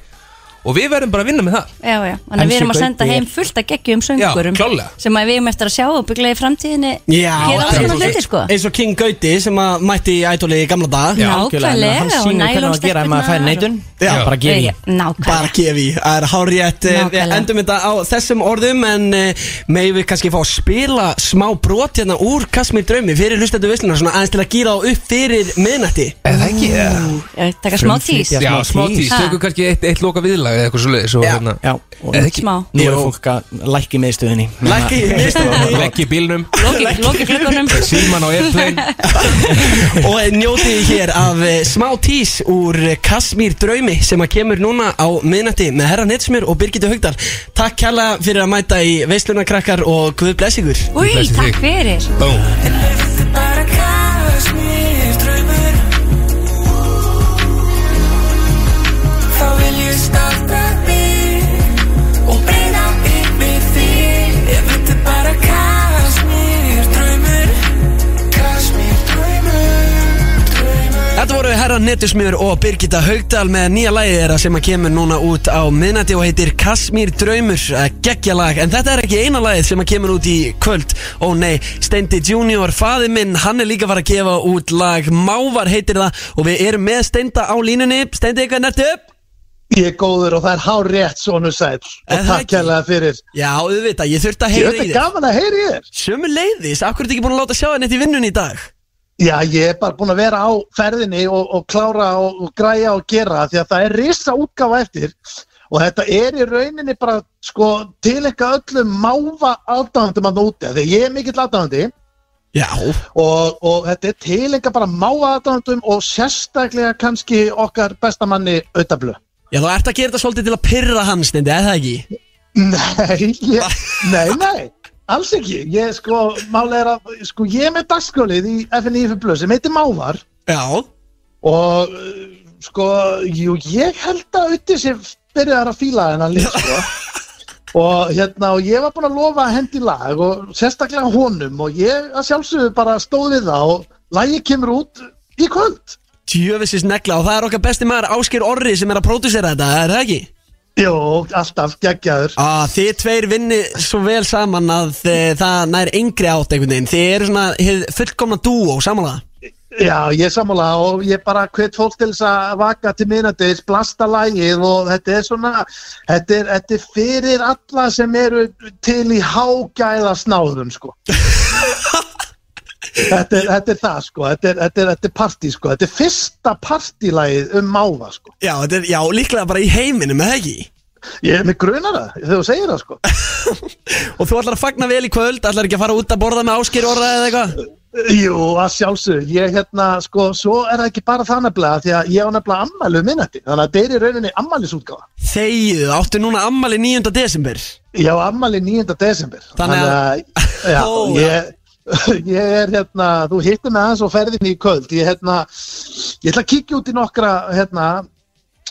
Speaker 10: og við verðum bara að vinna með það
Speaker 7: Já, já, þannig
Speaker 2: En
Speaker 7: að við erum
Speaker 2: sé
Speaker 7: að senda
Speaker 2: gautið
Speaker 7: heim fullt að geggjum söngurum
Speaker 10: Já, klálega.
Speaker 7: sem að við erum eftir að sjá og byggla í framtíðinni
Speaker 1: Já,
Speaker 7: hér á
Speaker 1: þetta er
Speaker 7: svona
Speaker 10: svo
Speaker 7: hluti sko
Speaker 1: Eins og King Gauti sem að mætti í ædoli í gamla dag
Speaker 10: Já,
Speaker 2: Algjörlega,
Speaker 7: Nákvæmlega
Speaker 2: en
Speaker 7: og
Speaker 2: Hann
Speaker 7: Eh,
Speaker 2: sýnir hvernig á að gera ef maður fær
Speaker 7: nælonsteppunar
Speaker 2: neitun
Speaker 1: Já.
Speaker 2: Bara gefi í
Speaker 7: Já, Nákvæmlega
Speaker 1: Bara gefi, það er hárétt eh, Við
Speaker 7: Nákvæmlega.
Speaker 1: endum þetta á þessum orðum En uh, meðum við kannski fá að spila smá brot hérna úr Kasmir Draumi Fyrir hlustættu vissluna, svona aðeins til að gýra á upp fyrir miðnætti
Speaker 10: eða ekki, eða
Speaker 7: Ég Taka smá tís
Speaker 2: Frumflytja.
Speaker 10: já, smá
Speaker 7: Mm.
Speaker 10: tís,
Speaker 7: Ha.
Speaker 10: tökum kannski eitt, eitt loka viðlag eða eitthvað svo leiðis og
Speaker 1: Já.
Speaker 10: hérna
Speaker 2: Já, og
Speaker 10: eða ekki,
Speaker 7: Smá
Speaker 2: nú er
Speaker 1: Jú.
Speaker 2: fólk að lækki meðstöðinni
Speaker 1: Lækka í miðnætti
Speaker 10: legg í bílnum
Speaker 7: Loki- Loki klukkunum
Speaker 10: síman á airplane
Speaker 1: Og njótið hér af eh, smá tís úr eh, Kasmir Draumi Sem að kemur núna á miðnætti með herra Netsmjör og Birgitu Haugdal Takk kjalla fyrir að mæta í veisluna krakkar og guð bless ykkur
Speaker 7: Új,
Speaker 10: blessi þig.
Speaker 7: takk fyrir
Speaker 10: Búm.
Speaker 8: Bara kasmir draumur Þá vil ég starta þig Og breyða upp með þig Ef þetta er bara kasmir draumur Kasmir draumur Draumur
Speaker 1: Þetta voru herra Nettusmiður og Birgitta Haugdal með nýja lagið þeirra sem að kemur núna út á miðnætti og heitir Kasmír Draumur, eh, geggja lag en þetta er ekki eina lagið sem að kemur út í kvöld ó nei, Steindi Junior, faði minn hann er líka að fara að gefa út lag Mávar heitir það og við erum með Steinda á línunni, Steindi eitthvað nertu upp
Speaker 11: Ég er góður og það er hár rétt sonu sæl
Speaker 1: Er
Speaker 11: og
Speaker 1: það
Speaker 11: takk
Speaker 1: ekki?
Speaker 11: hérlega fyrir.
Speaker 1: Já, auðvitað, ég þurfti að
Speaker 11: Ég
Speaker 1: heyra
Speaker 11: veit
Speaker 1: í
Speaker 11: að
Speaker 1: þér
Speaker 11: gaman að heyri þér.
Speaker 1: Sjömmu leiðis, akkur er ekki búin að láta sjá henni þetta í vinnunni í dag
Speaker 11: Já, ég er bara búin að vera á ferðinni og, og klára og, og græja og gera því að það er risa útgáfa eftir og þetta er í rauninni bara sko til eitthvað öllum máva aðdáðandum að núti því að ég er mikill aðdáðandi
Speaker 1: Já,
Speaker 11: og, og þetta er til eitthvað bara máva aðdáðandum og sérstaklega kannski okkar bestamanni auðablu.
Speaker 1: já þú ert að gera þetta svolítið til að pyrra hann, Steindi, eða ekki?
Speaker 11: Nei, ég, nei, nei, alls ekki. Ég sko, málega er að, sko, ég er með dagskólið í FNIF Plus sem heitir Mávar
Speaker 1: Já,
Speaker 11: og uh, sko, jú, ég held að auðvitað sem byrjaðar að fíla hennan líf, sko. Og hérna, og ég var búin að lofa hendi lag og sérstaklega honum og ég að sjálfsögðu bara stóð við það og lagið kemur út í kvöld
Speaker 1: Tjöfisins negla og það er okkar besti maður Ásker Orri sem er að pródúsera þetta, er það ekki?
Speaker 11: Jó, alltaf, geggjaður
Speaker 1: ah, Þið tveir vinni svo vel saman að e, það nær yngri átt einhvern veginn Þið eru svona hið fullkomna dúo samanlega
Speaker 11: Já, ég er sammála og ég bara hvet fólk til þess að vaka til minnandis, blasta lægið og þetta er svona, þetta er, þetta er fyrir alla sem eru til í hágæða snáðum, sko. þetta, er, þetta er það, sko, þetta er, þetta er, þetta er partí, sko, þetta er fyrsta partílægið um máva, sko.
Speaker 1: Já, þetta er, já, líklega bara í heiminum, eða ekki?
Speaker 11: Ég er með grunar það, þegar þú segir það, sko.
Speaker 1: Og þú ætlar að fagna vel í kvöld, ætlar ekki að fara út að borða með Ásker Orra eða eitthvað?
Speaker 11: Jú, að sjálfsög, ég hérna, sko, svo er það ekki bara það nefnilega því að ég á nefnilega ammælu um minnati, þannig að þetta er í rauninni ammælisútgáfa.
Speaker 1: Þegið, áttu núna ammali 9. desember
Speaker 11: Já, ammæli 9. desember
Speaker 1: Þannig að-
Speaker 11: já,
Speaker 1: Ó,
Speaker 11: ég, ég er hérna, þú hittir með aðeins og ferðin í kvöld ég hérna, ég ætla að kíkja út í nokkra hérna,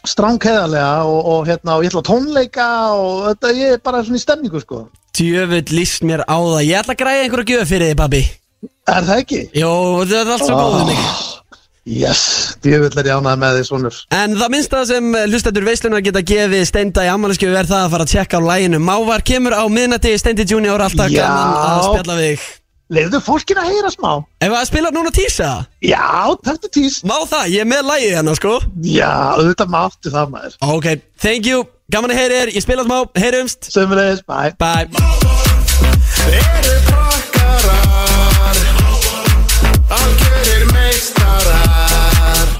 Speaker 11: strángheðarlega og, og hérna, og ég ætla að tónleika og þetta, ég er bara svona í stemningu sko.
Speaker 1: Tjöfull líst mér á það Ég ætla að græja einhverja gjöf fyrir þig, pabbi
Speaker 11: Er það ekki?
Speaker 1: Jó, þetta er allt svo
Speaker 11: Ó.
Speaker 1: góð mig
Speaker 11: Yes, djöfull er ég ánað með því svonur
Speaker 1: En það minnsta sem eh, hlustendur veislunar geta gefið Steinda í ammaliskeu er það að fara að tjekka á læginu Mávar kemur á miðnætti Steindi Junior alltaf
Speaker 11: Já.
Speaker 1: gaman að spjalla við þig
Speaker 11: Leifðu fólkin að heyra smá
Speaker 1: Ef að spila núna tísa
Speaker 11: Já, taktu tís
Speaker 1: Má það, ég er með lægið hérna sko
Speaker 11: Já, auðvitað máttu það maður
Speaker 1: Ok, thank you, gaman að heyri þér Ég spila smá, heyrumst
Speaker 11: Sömulegis, bye
Speaker 1: Bye
Speaker 8: Eru